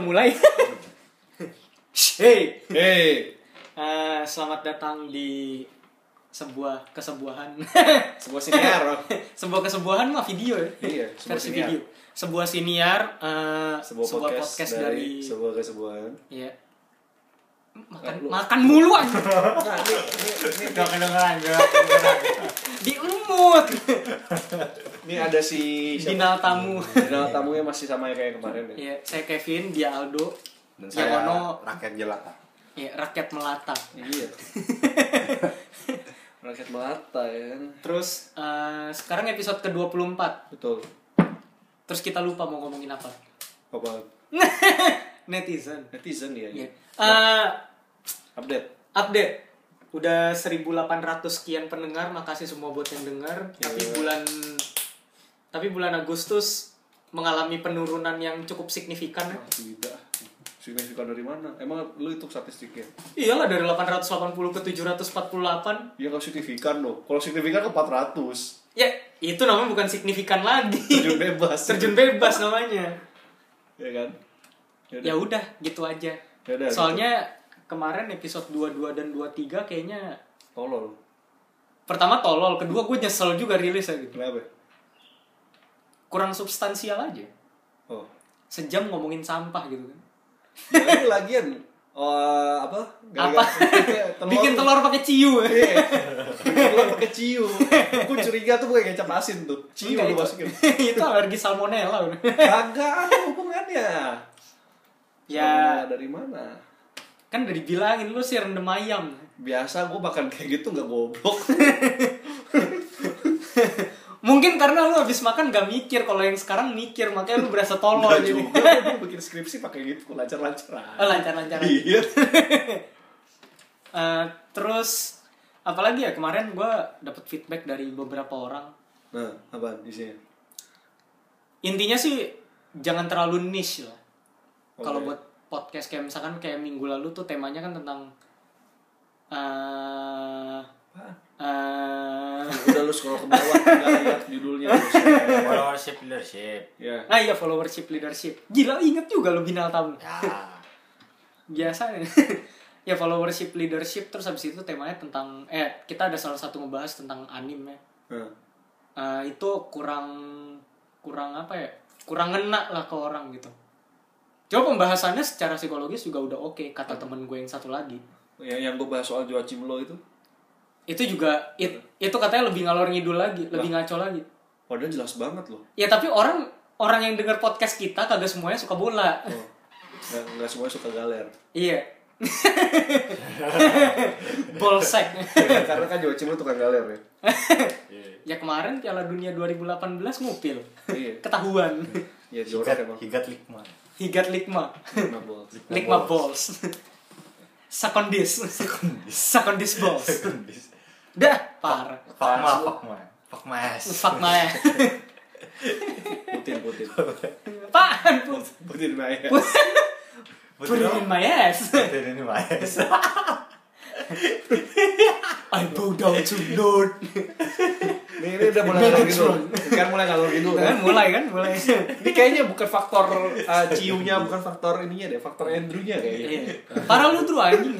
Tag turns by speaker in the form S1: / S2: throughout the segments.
S1: mulai. hey,
S2: Hei,
S1: eh, selamat datang di sebuah kesebuahan.
S2: sebuah siniar loh.
S1: sebuah kesebuahan mah video ya.
S2: Iya, sebuah
S1: versi
S2: siniar.
S1: video. Sebuah siniar, eh, sebuah, podcast, dari,
S2: sebuah kesebuahan.
S1: Iya. Makan, makan mulu aja.
S2: Nah, ini ini ini,
S3: Gak kedengeran, gak kedengeran.
S1: Diemut.
S2: ini ada si siapa? Hmm.
S1: Binal tamu.
S2: Dinal tamunya masih sama yang kayak kemarin ya.
S1: Iya, saya Kevin, dia Aldo.
S3: Dan
S1: saya
S3: saya
S1: Yono.
S3: rakyat jelata.
S1: Iya, rakyat melata.
S2: Iya. Rakyat melata ya kan.
S1: Terus eh, sekarang episode ke-24.
S2: Betul.
S1: Terus kita lupa mau ngomongin apa.
S2: Apa
S1: Netizen.
S2: netizen ya?
S1: Iya.
S2: ini.
S1: Eh,
S2: Update.
S1: update. Udah 1800 sekian pendengar, makasih semua buat yang dengar. Tapi
S2: Iya.
S1: bulan tapi bulan Agustus mengalami penurunan yang cukup signifikan.
S2: Ah, Oh. Tidak. Signifikan dari mana? Emang lu itu statistiknya?
S1: Iyalah dari 880 ke 748.
S2: Ya kalau signifikan loh. Kalau signifikan ke 400.
S1: Ya, itu namanya bukan signifikan lagi.
S2: Terjun bebas.
S1: Terjun bebas namanya.
S2: Ya kan?
S1: Ya udah, gitu aja.
S2: Yaudah,
S1: Soalnya kemarin episode 22 dan 23 kayaknya
S2: Tolol.
S1: pertama tolol, kedua gue nyesel juga rilisnya gitu.
S2: Kenapa?
S1: Kurang substansial aja.
S2: Oh.
S1: Sejam ngomongin sampah gitu kan.
S2: Ya, ini lagian eh, apa?
S1: Apa? Bikin telur pakai ciu.
S2: Iya. Bikin telur pakai ciu. Gue curiga tuh pakai kecap asin tuh. Ciu
S1: Enggak,
S2: lu
S1: itu-
S2: masukin.
S1: itu alergi salmonella udah.
S2: Kagak ada hubungannya.
S1: ya,
S2: Sama dari mana?
S1: kan udah dibilangin lu sih rendem ayam.
S2: Biasa gue makan kayak gitu nggak goblok.
S1: Mungkin karena lu habis makan gak mikir, kalau yang sekarang mikir makanya lu berasa tolol
S2: Nggak
S1: jadi.
S2: juga. Gue bikin skripsi pakai gitu lancar-lancar. aja.
S1: Oh, lancar-lancar. aja.
S2: Iya.
S1: Eh, terus apalagi ya kemarin gue dapet feedback dari beberapa orang.
S2: Nah, apaan isinya?
S1: Intinya sih jangan terlalu niche lah. Kalau
S2: Oke.
S1: buat podcast kayak misalkan kayak minggu lalu tuh temanya kan tentang eh eh,
S2: Udah lu scroll ke bawah, nggak lihat judulnya. terus.
S3: Followership, leadership.
S2: Ya.
S1: Ah iya followership leadership. Gila inget juga lo binal tamu.
S3: Ya.
S1: Biasa ya. ya followership leadership terus habis itu temanya tentang eh kita ada salah satu ngebahas tentang anime.
S2: Nah,
S1: Eh itu kurang kurang apa ya? Kurang ngena lah ke orang gitu. Coba pembahasannya secara psikologis juga udah oke kata temen gue yang satu lagi.
S2: yang yang gue bahas soal Joachim Low itu
S1: Itu juga it- itu katanya lebih ngalor ngidul lagi, lebih ngaco lagi.
S2: Padahal jelas banget loh.
S1: Ya tapi orang orang yang denger podcast kita kagak semuanya suka bola.
S2: Oh. Nggak, nggak semua suka galer.
S1: Iya. Bolsek.
S2: Karena kan Joachim Low tukang galer ya.
S1: ya kemarin Piala Dunia 2018 ngupil.
S2: Iya.
S1: Ketahuan.
S2: Ya jorok
S3: Higat,
S2: emang.
S3: higat likman.
S1: Higat Likma.
S2: Nah, bol.
S1: Likma Balls. Sekondis. Sekondis Balls. Dah, parah.
S3: Fakma, fakma. Fakmas.
S1: Fuck my.
S2: Putin, Putin.
S1: Apaan, Put?
S2: Putin ya. Maya.
S1: Put it in my ass.
S3: Betul ini mas.
S1: I bow down to Lord.
S2: Ini, ini udah mulai ngalor gitu. Sekarang mulai ngalor gitu kan.
S1: Kan mulai kan, mulai.
S2: Ini kayaknya bukan faktor uh, ciunya, bukan faktor ininya deh, faktor Andrew-nya kayaknya.
S1: Iya. Parah lu tuh anjing.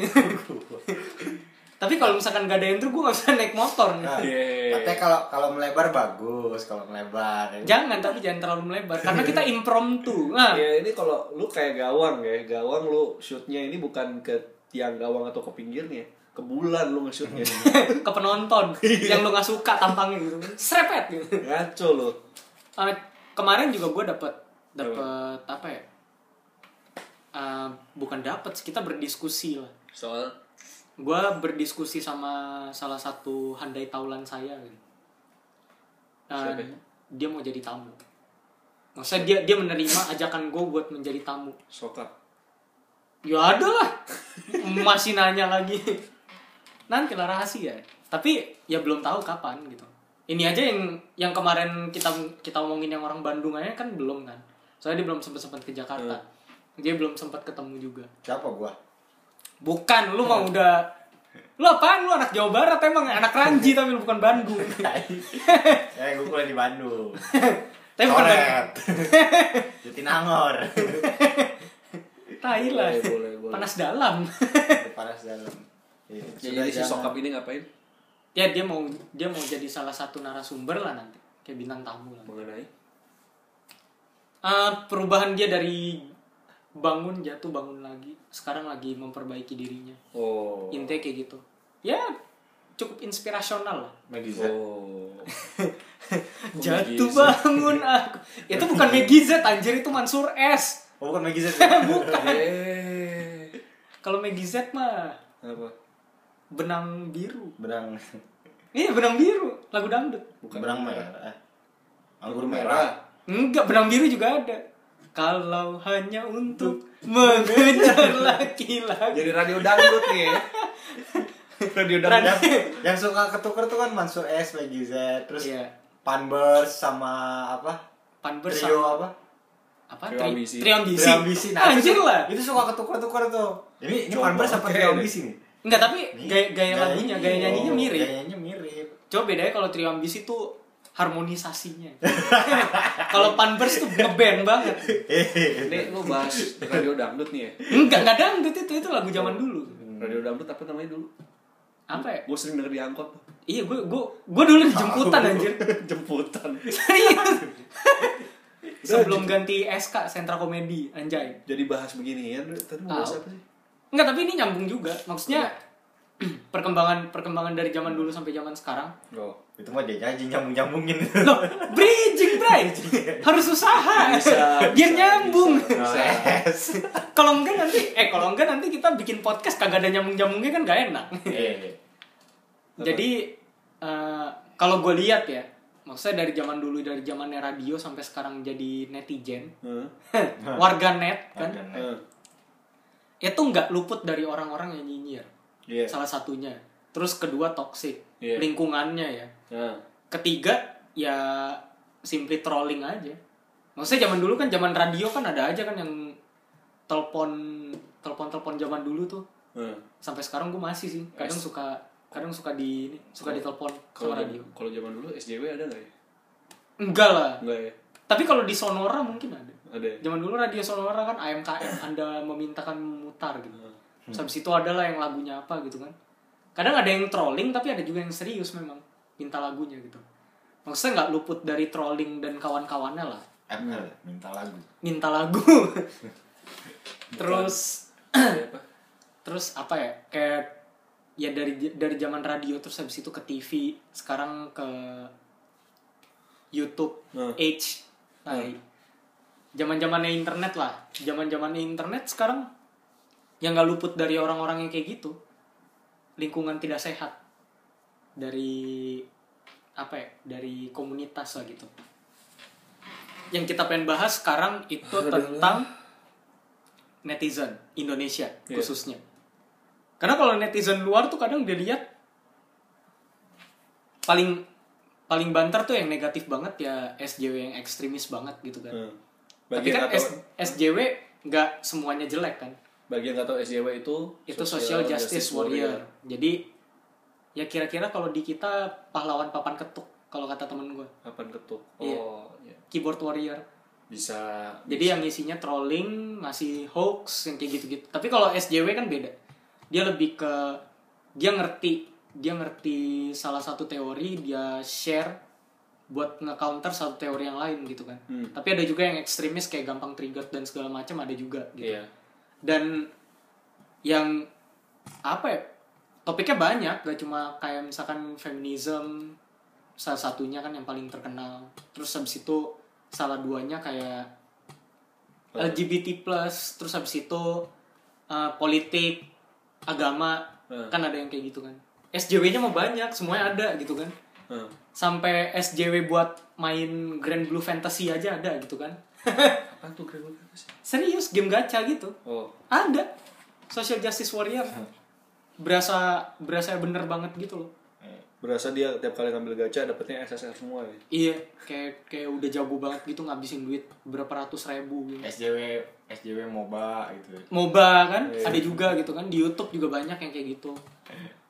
S1: Tapi kalau misalkan gak ada yang gue gak bisa naik motor.
S3: Nah,
S2: Yeay.
S3: Katanya kalau kalau melebar bagus, kalau melebar.
S1: Jangan tapi jangan terlalu melebar karena kita impromptu. Nah,
S2: Ya ini kalau lu kayak gawang ya, gawang lu shootnya ini bukan ke tiang gawang atau ke pinggirnya, ke bulan lu nge-shootnya.
S1: ke penonton yang lu nggak suka tampangnya gitu. Srepet gitu.
S2: Ngaco lu.
S1: Eh, kemarin juga gue dapet dapet apa ya? Eh, bukan dapet, sih, kita berdiskusi lah.
S2: Soal
S1: Gue berdiskusi sama salah satu handai taulan saya. Gitu. Eh,
S2: Siapa ya?
S1: dia mau jadi tamu. Maksudnya dia dia menerima ajakan gue buat menjadi tamu.
S2: sokap.
S1: Ya ada lah. Masih nanya lagi. Nanti lah rahasia. Tapi ya belum tahu kapan gitu. Ini aja yang yang kemarin kita kita omongin yang orang Bandung aja kan belum kan. Soalnya dia belum sempat sempat ke Jakarta.
S2: Iya.
S1: Dia belum sempat ketemu juga.
S3: Siapa gua?
S1: Bukan, lu
S2: Iya.
S1: mah udah Lu apaan? Lu anak Jawa Barat emang anak Ranji tapi lu bukan Bandung.
S3: Ya, gua kuliah di Bandung.
S1: tapi bukan Bandung.
S3: Coret. Jatinangor.
S1: Tai lah.
S2: Boleh, Iya, boleh, boleh.
S1: Panas dalam.
S3: panas dalam. Iya,
S2: Ya, Jadi si
S3: jangan.
S2: sokap ini ngapain?
S1: ya dia mau dia mau jadi salah satu narasumber lah nanti. Kayak bintang tamu lah.
S2: Mengenai
S1: Eh, perubahan dia dari bangun jatuh bangun lagi sekarang lagi memperbaiki dirinya
S2: Oh.
S1: intinya kayak gitu ya cukup inspirasional lah
S3: Megizat.
S2: Oh.
S1: jatuh bangun aku itu bukan Meggy Z anjir itu Mansur S
S3: Oh, bukan Megizat.
S1: bukan
S2: Eh.
S1: kalau Meggy Z mah
S2: Apa?
S1: benang biru
S3: Benang
S1: iya benang biru lagu dangdut
S2: Bukan.
S3: benang merah. Eh, Anggur merah.
S2: merah.
S1: enggak benang biru juga ada kalau hanya untuk mengejar laki-laki
S2: Jadi radio dangdut nih. ya. radio dangdut.
S3: yang suka ketuker tuh kan Mansur S, Megizat, terus
S1: Iya.
S3: Panbers sama apa?
S1: pan
S3: Trio
S1: bersama
S3: apa?
S1: apa
S2: Trio
S1: tri
S2: Ambisi.
S1: triambisi
S3: Triambisi. Nah, itu-
S1: anjir lah
S3: Itu suka ketuker-tuker tuh. Ini ini
S2: Coba,
S3: Panbers apa
S2: oke.
S3: Triambisi nih?
S1: Enggak, tapi
S3: Nih,
S1: gaya, gaya lagunya, gaya nyanyinya
S3: oh,
S1: mirip.
S3: Gaya nyanyinya mirip.
S1: Coba bedanya kalau Trio Ambisi tuh harmonisasinya. kalau Panbers tuh ngeband banget.
S2: Ini lu bahas radio dangdut nih ya.
S1: Enggak, enggak dangdut itu, itu lagu zaman dulu.
S2: Radio dangdut apa namanya dulu?
S1: Apa ya?
S2: Gue sering denger di angkot.
S1: Iya, gue gue gue dulu dijemputan anjir.
S2: Jemputan.
S1: Serius. Sebelum ganti SK Sentra Komedi anjay.
S2: Jadi bahas begini ya. Tadi mau bahas
S1: Tahu.
S2: apa sih?
S1: Enggak, tapi ini nyambung juga. Maksudnya perkembangan perkembangan dari zaman dulu sampai zaman sekarang.
S2: Oh.
S3: Itu mah dia nyanyi nyambung-nyambungin.
S1: Loh, bridging, Bray. Harus usaha.
S2: Bisa,
S1: Biar
S2: bisa,
S1: nyambung.
S2: bisa.
S3: S.
S1: kalau enggak nanti eh kalau enggak nanti kita bikin podcast kagak ada nyambung nyambungnya kan gak enak
S3: Iya.
S1: jadi eh, kalau gue lihat ya maksudnya dari zaman dulu dari zamannya radio sampai sekarang jadi netizen
S2: Heeh.
S1: warga net kan
S3: Warganet.
S2: Heeh.
S1: itu nggak luput dari orang-orang yang nyinyir
S2: Iya.
S1: salah satunya terus kedua toxic
S2: Iya.
S1: lingkungannya ya
S2: Nah.
S1: ketiga ya simply trolling aja maksudnya zaman dulu kan zaman radio kan ada aja kan yang telepon telepon telepon zaman dulu tuh
S2: Heeh.
S1: sampai sekarang gue masih sih kadang suka kadang suka di ini, suka ditelepon
S2: Kalau
S1: sama radio
S2: jam- kalau zaman dulu SJW ada nggak ya?
S1: enggak lah
S2: Enggak ya.
S1: tapi kalau di sonora mungkin ada
S2: Ada. ya?
S1: zaman dulu radio sonora kan AMKM anda memintakan memutar gitu
S2: Hmm.
S1: Terus habis itu adalah yang lagunya apa gitu kan kadang ada yang trolling tapi ada juga yang serius memang minta lagunya gitu maksudnya nggak luput dari trolling dan kawan-kawannya lah
S3: FL minta lagu.
S1: minta lagu terus
S2: Ada apa?
S1: terus apa ya kayak ya dari dari zaman radio terus habis itu ke TV sekarang ke YouTube
S2: Hmm.
S1: H tai zaman zamannya internet lah zaman zamannya internet sekarang yang nggak luput dari orang-orang yang kayak gitu lingkungan tidak sehat dari apa ya dari komunitas lah gitu yang kita pengen bahas sekarang itu tentang netizen Indonesia
S2: Iya.
S1: khususnya karena kalau netizen luar tuh kadang dilihat paling paling banter tuh yang negatif banget ya SJW yang ekstremis banget gitu kan
S2: Heeh.
S1: tapi
S2: Bagi yang
S1: kan
S2: nggak tahu,
S1: S- SJW nggak semuanya jelek kan
S2: bagi yang nggak tahu SJW itu
S1: itu social justice warrior. Jadi ya kira-kira kalau di kita pahlawan papan ketuk kalau kata temen gue
S2: Papan ketuk.
S1: Iya.
S2: Oh, iya.
S1: keyboard warrior.
S2: Bisa.
S1: Jadi yang isinya trolling, masih hoax yang kayak gitu-gitu. Tapi kalau SJW kan beda. Dia lebih ke dia ngerti, dia ngerti salah satu teori, dia share buat nge-counter satu teori yang lain gitu kan.
S2: Hmm.
S1: Tapi ada juga yang ekstremis kayak gampang trigger dan segala macam ada juga gitu.
S2: Iya.
S1: dan yang apa ya topiknya banyak gak cuma kayak misalkan feminism salah satunya kan yang paling terkenal terus habis itu salah duanya kayak
S2: Apa?
S1: LGBT plus terus habis itu uh, politik agama
S2: Hmm.
S1: kan ada yang kayak gitu kan SJW-nya mau banyak semuanya ada gitu kan
S2: Heeh.
S1: sampai SJW buat main Grand Blue Fantasy aja ada gitu kan
S2: Apa tuh kira sih?
S1: serius game gacha gitu
S2: Oh,
S1: ada social justice warrior berasa berasa bener banget gitu loh
S2: berasa dia tiap kali ngambil gacha dapetnya SSR semua ya.
S1: iya kayak kayak udah jago banget gitu ngabisin duit berapa ratus ribu
S3: Eh.
S1: gitu.
S3: SJW SJW MOBA gitu.
S1: moba kan ada juga gitu kan di YouTube juga banyak yang kayak gitu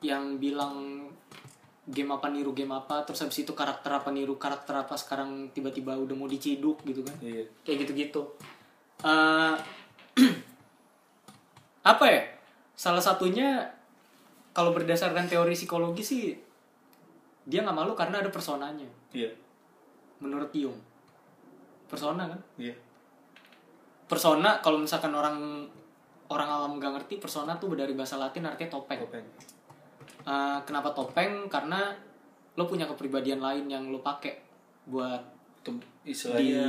S1: yang bilang game apa niru game apa terus habis itu karakter apa niru karakter apa sekarang tiba-tiba Iya. udah mau diciduk gitu kan
S2: Iya.
S1: kayak gitu-gitu Eh apa ya salah satunya kalau berdasarkan teori psikologi sih dia nggak malu karena ada personanya
S2: Iya.
S1: menurut Jung persona kan
S2: Iya.
S1: persona kalau misalkan orang orang awam gak ngerti persona tuh dari bahasa Latin artinya topeng
S2: Topeng.
S1: Eh, kenapa topeng karena lo punya kepribadian lain yang lo pakai buat
S2: Itu
S1: di
S2: istilahnya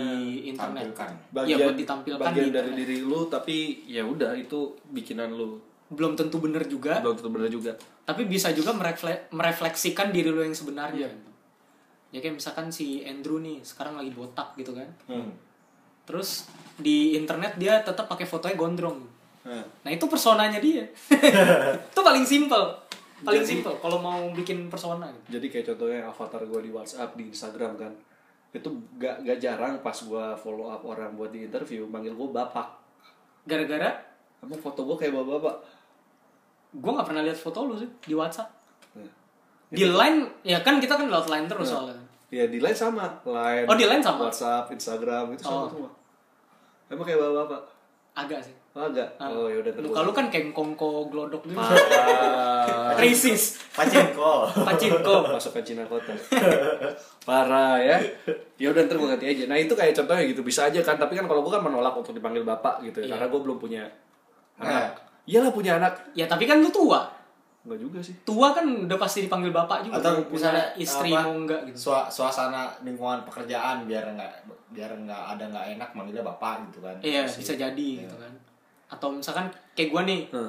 S1: internet
S3: tampilkan.
S1: Iya, buat ditampilkan kan. di
S2: bagian dari
S1: internet.
S2: diri lu tapi ya udah itu bikinan lu.
S1: belum tentu bener juga
S2: Belum tentu benar juga.
S1: tapi bisa juga merefle- merefleksikan diri lo yang
S2: Iya.
S1: sebenarnya ya kayak misalkan si Andrew nih sekarang lagi botak gitu kan
S3: Hmm.
S1: terus di internet dia tetap pakai fotonya gondrong
S2: Nah,
S1: nah itu personanya dia itu paling simple paling
S2: Jadi-
S1: simple kalau mau bikin persona gitu.
S2: Jadi kayak contohnya avatar gue di WhatsApp, di Instagram kan. Itu gak, gak jarang pas gue follow up orang buat di interview, manggil gue bapak.
S1: gara-gara
S2: Emang foto gue kayak bapak-bapak.
S1: gue nggak pernah lihat foto lu sih di WhatsApp
S2: Nah,
S1: di line ya kan kita kan lewat line terus soalnya
S2: Ya di line sama, line.
S1: Oh, di line sama?
S2: WhatsApp, Instagram itu sama
S1: Oh.
S2: semua. Emang kayak bapak-bapak.
S1: agak sih
S2: Oh, agak. Oh, ya udah
S1: luka Ah. lu kan kayak kongko glodok gitu Resist.
S3: Pacengko.
S1: pacinko
S2: masukkan Ah. Cina kota. Parah ya. Ya udah ntar gue ganti aja. Nah, itu kayak contohnya gitu bisa aja kan, tapi kan kalau gue kan menolak untuk dipanggil bapak gitu ya,
S1: Iya.
S2: karena gue belum punya
S3: Nah.
S2: anak. Iyalah punya anak.
S1: ya tapi kan lu tua
S2: Enggak juga sih.
S1: tua kan udah pasti dipanggil bapak juga
S3: Atau
S1: punya
S3: misalnya
S1: istri
S3: apa,
S1: mau enggak gitu
S3: sua- suasana lingkungan pekerjaan biar nggak biar nggak ada nggak enak manggilnya bapak gitu kan.
S1: iya
S3: Masih.
S1: bisa jadi gitu kan atau misalkan kayak gue nih
S2: Hah,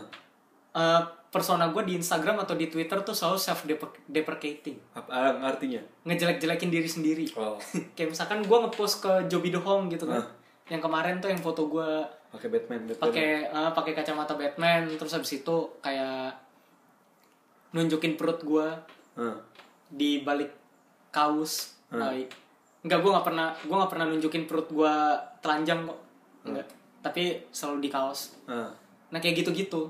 S1: eh, persona gue di Instagram atau di Twitter tuh selalu self deprecating
S2: apa ah, artinya?
S1: ngejelek-jelekin diri sendiri
S2: Oh,
S1: kayak misalkan gue ngepost ke Joby Dohong gitu kan yang kemarin tuh yang foto gue
S2: pakai Batman, Batman.
S1: pakai eh, pakai kacamata Batman terus habis itu kayak nunjukin perut gue
S2: Hah.
S1: di balik kaos Eh, enggak gue nggak pernah gue nggak pernah nunjukin perut gue telanjang kok enggak tapi selalu di kaos
S2: Hah.
S1: nah kayak gitu gitu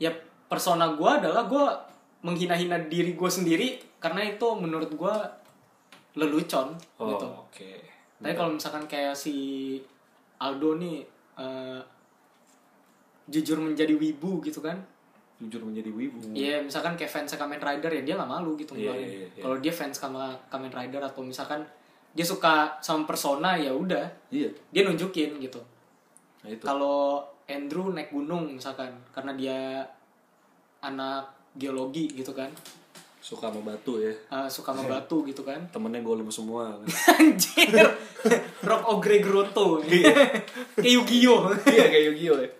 S1: ya persona gue adalah gue menghina-hina diri gue sendiri karena itu menurut gue lelucon
S2: Oh,
S1: gitu
S2: oke.
S1: tapi kalau misalkan kayak si Aldo nih eh, jujur menjadi wibu gitu kan
S2: Jujur menjadi wibu.
S1: Iya, misalkan kayak fans Kamen Rider ya dia nggak malu gitu
S2: Iya,
S1: ngeluarin.
S2: iya, iya, iya.
S1: Kalau dia fans sama Kamen Rider atau misalkan dia suka sama persona ya udah,
S2: Iya.
S1: dia nunjukin gitu.
S2: Nah, itu.
S1: Kalau Andrew naik gunung misalkan karena dia anak geologi gitu kan,
S2: Suka sama batu ya.
S1: eh, suka sama batu gitu kan.
S2: Temennya golem semua.
S1: Anjir. Rock Ogre Grotto. kayak Yu-Gi-Oh.
S2: iya kayak Yu-Gi-Oh ya.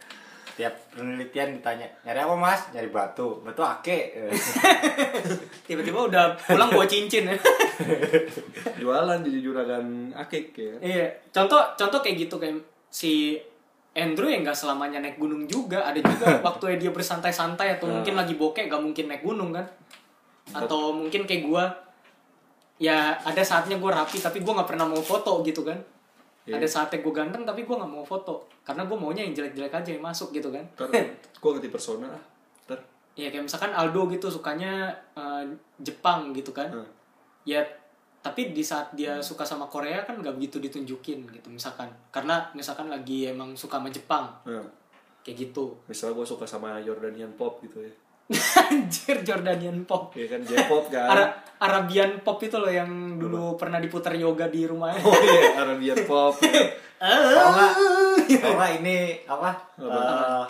S3: Tiap penelitian ditanya nyari apa mas? Nyari batu. Batu ake. Eh,
S1: Tiba-tiba udah pulang bawa cincin ya.
S2: Jualan jadi juragan akik ya.
S1: Iya, contoh contoh kayak gitu kayak si Andrew yang nggak selamanya naik gunung juga, ada juga waktu dia bersantai-santai atau mungkin lagi bokeh gak mungkin naik gunung kan? Atau mungkin kayak gua ya ada saatnya gua rapi tapi gua nggak pernah mau foto gitu kan?
S2: Iya.
S1: Ada saatnya gua ganteng tapi gua nggak mau foto karena gua maunya yang jelek-jelek aja yang masuk gitu kan?
S2: Ntar gue ganti persona ah. Ntar.
S1: Iya kayak misalkan Aldo gitu sukanya eh, Jepang gitu kan?
S2: Hmm.
S1: ya tapi di saat dia suka sama Korea kan nggak begitu ditunjukin gitu misalkan karena misalkan lagi emang suka sama Jepang
S2: Nah,
S1: kayak gitu
S2: misalnya gue suka sama Jordanian pop gitu ya.
S1: anjir Jordanian pop
S2: Iya kan J-pop kan.
S1: Ara- Arabian pop itu loh yang dulu pernah diputar yoga di rumahnya
S2: Oh iya, Arabian pop. ya.
S3: Kalau nggak- kalau nggak ini apa? eh,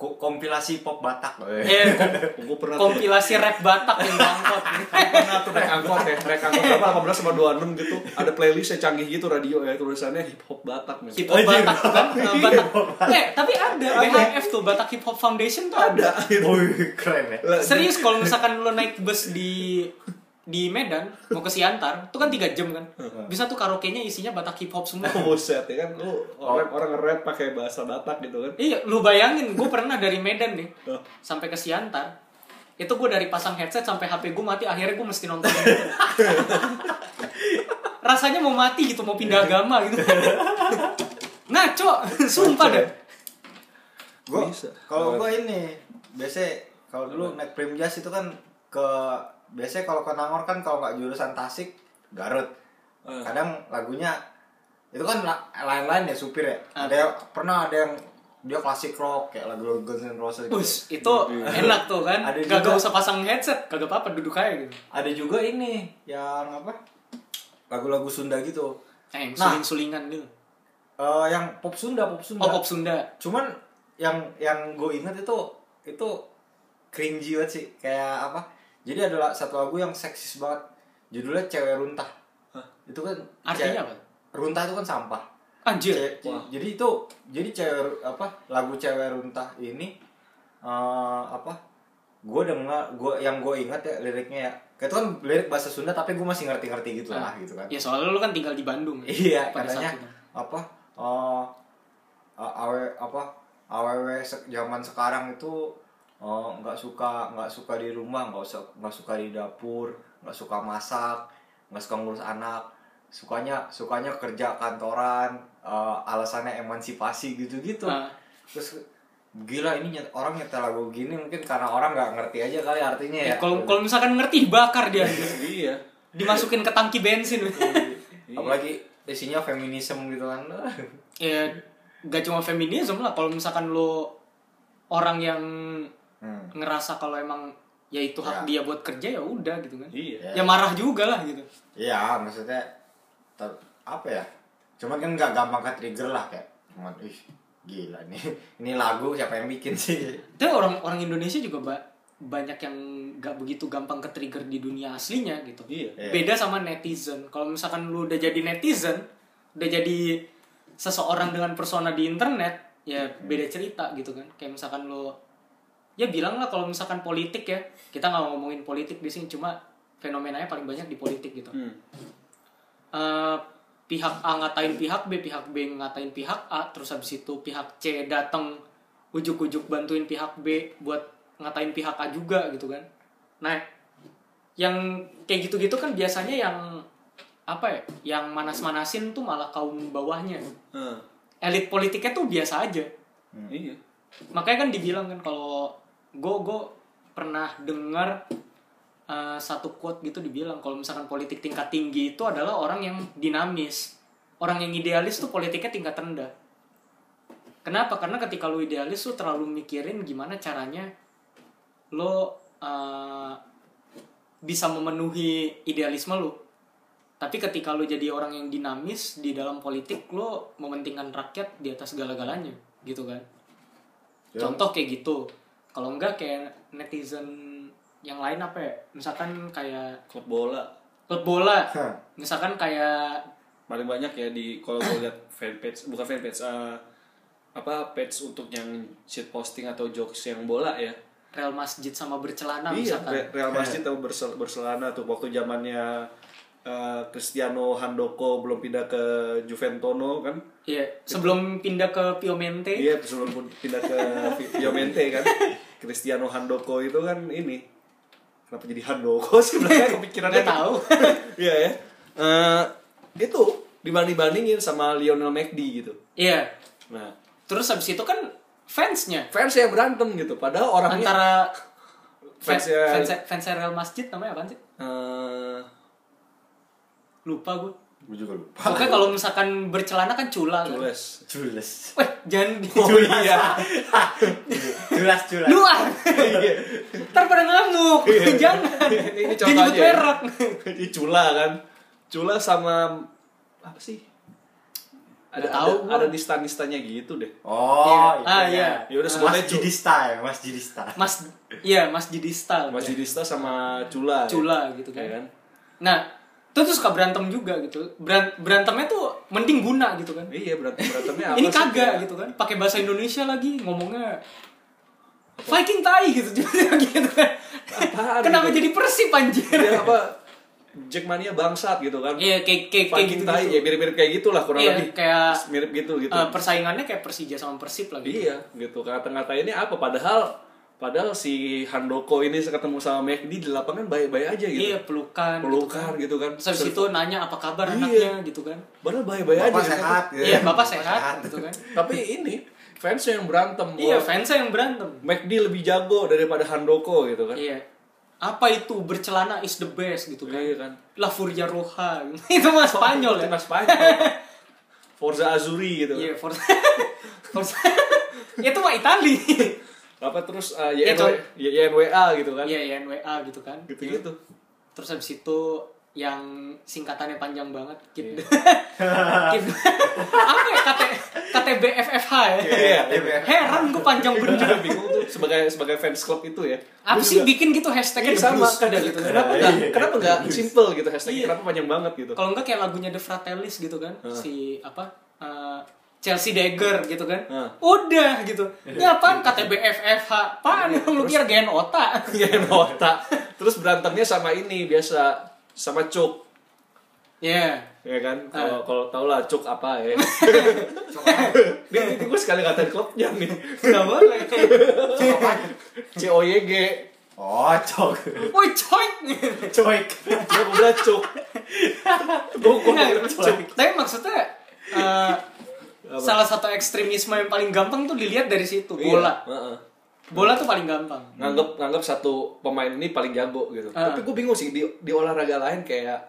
S3: ko- kompilasi pop Batak. Eh.
S1: eh, kom-
S2: Gue pernah tuh
S1: kompilasi rap Batak yang bangkot
S2: pernah tuh naik angkot ya, naik angkot berapa? 18 sama 26 gitu. Ada playlist yang canggih gitu radio ya tulisannya hip hop Batak men.
S1: hip hop
S3: Anjir.
S1: Batak kan eh, Batak
S3: Hip hop
S1: eh tapi ada BHF tuh Batak Hip Hop Foundation tuh ada
S3: Wih, keren ya.
S2: Lah,
S1: serius kalau misalkan lo naik bus di di Medan mau ke Siantar itu kan tiga jam kan bisa tuh karaoke-nya isinya Batak hip hop semua
S2: Buset ya kan lu orang orang nge-rap pakai bahasa Batak gitu kan.
S1: iya lu bayangin gue pernah dari Medan nih
S2: Oh.
S1: sampai ke Siantar itu gue dari pasang headset sampai HP gue mati akhirnya gue mesti nonton rasanya mau mati gitu mau pindah agama gitu ngaco sumpah deh
S3: Gua
S2: Bisa.
S3: kalau gua ini biasanya kalau dulu naik Primjas itu kan ke biasanya kalau ke Nangor kan kalau nggak jurusan Tasik Garut.
S2: Eh.
S3: Ah. Kadang lagunya itu kan la- lain-lain ya supir ya. Ada yang- pernah ada yang dia klasik rock kayak lagu Guns N' Roses gitu.
S1: Bus, itu enak tuh kan.
S3: Ada
S1: Gak,
S3: juga-
S1: usah pasang headset, kagak apa-apa duduk aja gitu.
S3: Ada juga ini yang apa? Lagu-lagu Sunda gitu.
S1: Eh, yang
S3: Nah.
S1: suling-sulingan gitu.
S3: Eh, yang pop Sunda, pop Sunda.
S1: Oh, pop Sunda.
S3: Cuman yang yang gue inget itu itu cringy banget sih kayak apa? Jadi adalah satu lagu yang seksis banget. Judulnya Cewek Runtah. Itu kan
S1: Artinya apa?
S3: Runtah itu kan sampah.
S1: Anjir.
S3: Ce- ce- jadi itu jadi cewek ru- apa lagu cewek runtah ini eh, apa gue dengar gue yang gue ingat ya liriknya ya itu kan lirik bahasa Sunda tapi gue masih ngerti-ngerti gitu lah gitu kan
S1: Ya soalnya lu kan tinggal di Bandung. ya,
S3: iya
S1: pada saat
S3: katanya
S1: itu.
S3: apa eh eh, awe apa awewe se- zaman sekarang itu eh, nggak suka nggak suka di rumah nggak usah nggak suka di dapur nggak suka masak nggak suka ngurus anak sukanya sukanya kerja kantoran eh, alasannya emansipasi gitu gitu
S1: Ah.
S3: terus gila ini nyet- orang nyetel lagu gini mungkin karena orang nggak ngerti aja kali artinya
S1: Ya,
S3: ya,
S1: kalau kalau misalkan ngerti bakar dia anjir.
S2: Iya.
S1: dimasukin ke tangki bensin.
S3: apalagi isinya feminisme gitu kan
S1: ya gak cuma feminisme lah kalau misalkan lo orang yang
S3: Hmm.
S1: ngerasa kalau emang ya itu
S3: Iya.
S1: hak dia buat kerja ya udah gitu kan.
S2: Iya.
S1: Ya marah juga lah gitu.
S3: Iya, maksudnya ter- apa ya? Cuman kan nggak gampang ke trigger lah kayak cuman ih gila nih. Ini lagu siapa yang bikin sih?
S1: Tapi orang orang Indonesia juga ba- banyak yang gak begitu gampang ke trigger di dunia aslinya gitu.
S2: Iya.
S3: Iya.
S1: Beda sama netizen. Kalau misalkan lu udah jadi netizen, udah jadi seseorang dengan persona di internet, ya beda cerita gitu kan. Kayak misalkan lu ya bilang lah kalau misalkan politik ya, kita nggak ngomongin politik di sini cuma fenomenanya paling banyak di politik gitu.
S2: Hmm.
S1: Eh, pihak A ngatain pihak B, pihak B ngatain pihak A, terus habis itu pihak C datang ujuk-ujuk bantuin pihak B buat ngatain pihak A juga gitu kan. Nah, yang kayak gitu-gitu kan biasanya yang apa ya? Yang manas-manasin tuh malah kaum bawahnya.
S2: Hah.
S1: Elit politiknya tuh biasa aja.
S2: Iya.
S1: Makanya kan dibilang kan kalau gue gue pernah dengar eh, satu quote gitu dibilang kalau misalkan politik tingkat tinggi itu adalah orang yang dinamis. Orang yang idealis tuh politiknya tingkat rendah. Kenapa? Karena ketika lu idealis lu terlalu mikirin gimana caranya lo eh, bisa memenuhi idealisme lu. Tapi ketika lu jadi orang yang dinamis di dalam politik lo mementingkan rakyat di atas segala-galanya gitu kan.
S3: Ya.
S1: Contoh kayak gitu. Kalau enggak kayak netizen yang lain apa ya? Misalkan kayak
S2: Klub bola
S1: klub bola.
S3: Hah.
S1: Misalkan kayak
S2: paling banyak ya di kalau gue lihat fanpage bukan fanpage eh, apa page untuk yang shit posting atau jokes yang bola ya.
S1: Real Masjid sama bercelana
S2: Iya,
S1: misalkan.
S2: Re- Real Madrid atau Bersel- Barcelona tuh waktu zamannya eh, Cristiano Handoko belum pindah ke Juventono kan.
S1: Iya, sebelum pindah ke Piemonte.
S2: Iya, sebelum pun pindah ke Vi- Piemonte kan. Cristiano Handoko itu kan ini. Kenapa jadi Handoko sih belakang kepikirannya?
S1: Nggak tahu.
S2: Iya ya. Eh, itu dibanding-bandingin sama Lionel McD gitu.
S1: Iya.
S2: Nah,
S1: Terus habis itu kan fansnya
S2: fans yang berantem gitu. Padahal orangnya
S1: antara fans
S2: Fansnya-
S1: fans fansnya Real Masjid namanya apa sih?
S2: eh,
S1: Lupa gue.
S3: Gue juga lupa.
S1: Pokoknya kalau misalkan bercelana kan cula. kan?
S2: cules.
S3: Cules.
S1: Weh, jangan
S2: iya.
S3: Culas culas.
S1: Lu ah. Ntar pada ngamuk. Jangan.
S2: Iya. ini ya.
S1: Jangan nyebut
S2: contohnya.
S1: merek.
S2: Ini cula kan. Cula sama apa sih? Ada
S1: Nggak tahu gua.
S2: ada, ada nista-nistanya gitu deh.
S3: Oh,
S1: Iya. Ah,
S3: ya.
S1: iya.
S2: Ya udah sebut
S3: Mas
S2: aja Cul-
S3: Jidista ya, Mas Jidista.
S1: Mas iya Mas Jidista. lah.
S2: Mas Didista sama Cula. ya.
S1: Cula gitu kan.
S2: Ya kan?
S1: Nah, itu tuh suka berantem juga gitu. Beran- berantemnya tuh mending guna gitu kan.
S2: Iya, berantem berantemnya apa
S1: Ini
S2: sih?
S1: kagak gitu kan. Pakai bahasa Indonesia lagi ngomongnya Viking tai gitu juga gitu kan.
S2: Apaan
S1: Kenapa
S2: gitu? Iya.
S1: jadi Persib anjir?
S2: Dia apa Jackmania bangsat gitu kan.
S1: Iya kayak kayak kayak
S2: Fucking
S1: gitu.
S2: tai, ya mirip-mirip kayak gitulah kurang
S1: Iya,
S2: lebih.
S1: kayak,
S2: mirip gitu gitu.
S1: Eh, persaingannya kayak Persija sama Persib lagi.
S2: iya, gitu. Kata-kata ini apa padahal padahal si Handoko ini ketemu sama McD di lapangan baik-baik aja gitu.
S1: Iya, pelukan.
S2: Pelukan gitu kan.
S1: Terus habis itu nanya apa kabar
S2: Iya.
S1: anaknya gitu kan.
S2: Padahal baik-baik aja.
S3: Bapak
S2: gitu.
S3: sehat. gitu.
S1: Iya, Bapak sehat gitu kan.
S2: Tapi ini fans yang berantem.
S1: Iya,
S2: Wah,
S1: fansnya yang berantem.
S2: McD lebih jago daripada Handoko gitu kan.
S1: Iya. Apa itu bercelana is the best gitu kan?
S2: Iya kan.
S1: La Furia Roja. itu mah Spanyol ya.
S2: Mas Spanyol. Forza Azuri gitu.
S1: Iya, Forza. Forza. itu mah Itali
S2: apa terus uh,
S1: Iya,
S2: YNW, YNWA gitu kan
S1: iya iya NWA gitu kan
S2: gitu gitu
S1: terus habis itu yang singkatannya panjang banget gitu
S2: Iya.
S1: apa ya KT, KTBFFH ya
S2: Iya,
S3: iya.
S1: heran gue panjang bener
S2: bingung tuh sebagai sebagai fans club itu ya
S1: apa
S2: Lu
S1: sih
S2: juga-
S1: bikin gitu hashtagnya
S2: Iya,
S1: The
S2: sama
S1: Blues?
S2: kadang gitu kenapa nggak kenapa nggak simple gitu hashtagnya
S1: Iya.
S2: kenapa panjang banget gitu
S1: kalau enggak kayak lagunya The Fratellis gitu kan si apa eh, Chelsea Dagger gitu kan
S2: Hah.
S1: udah gitu
S2: Iya.
S1: ini apaan KTBFFH apaan lu kira gen otak
S2: Iya, otak terus berantemnya sama ini biasa sama cuk
S1: ya
S2: ya kan kalau kalau tau lah cuk apa ya nih, nih, gue sekali ngatain klubnya nih
S1: nggak boleh
S2: C O Y G
S3: Oh, cok.
S1: woi coy
S3: Coik.
S2: gue bilang cuk gue gue bilang Nah, cuk
S1: Iya, tapi maksudnya eh,
S2: Apa?
S1: salah satu ekstremisme yang paling gampang tuh dilihat dari situ
S2: Iya,
S1: bola
S2: heeh.
S1: bola tuh paling gampang
S2: nganggep nganggep satu pemain ini paling jago gitu
S1: Ah.
S2: tapi gue bingung sih di, di olahraga lain kayak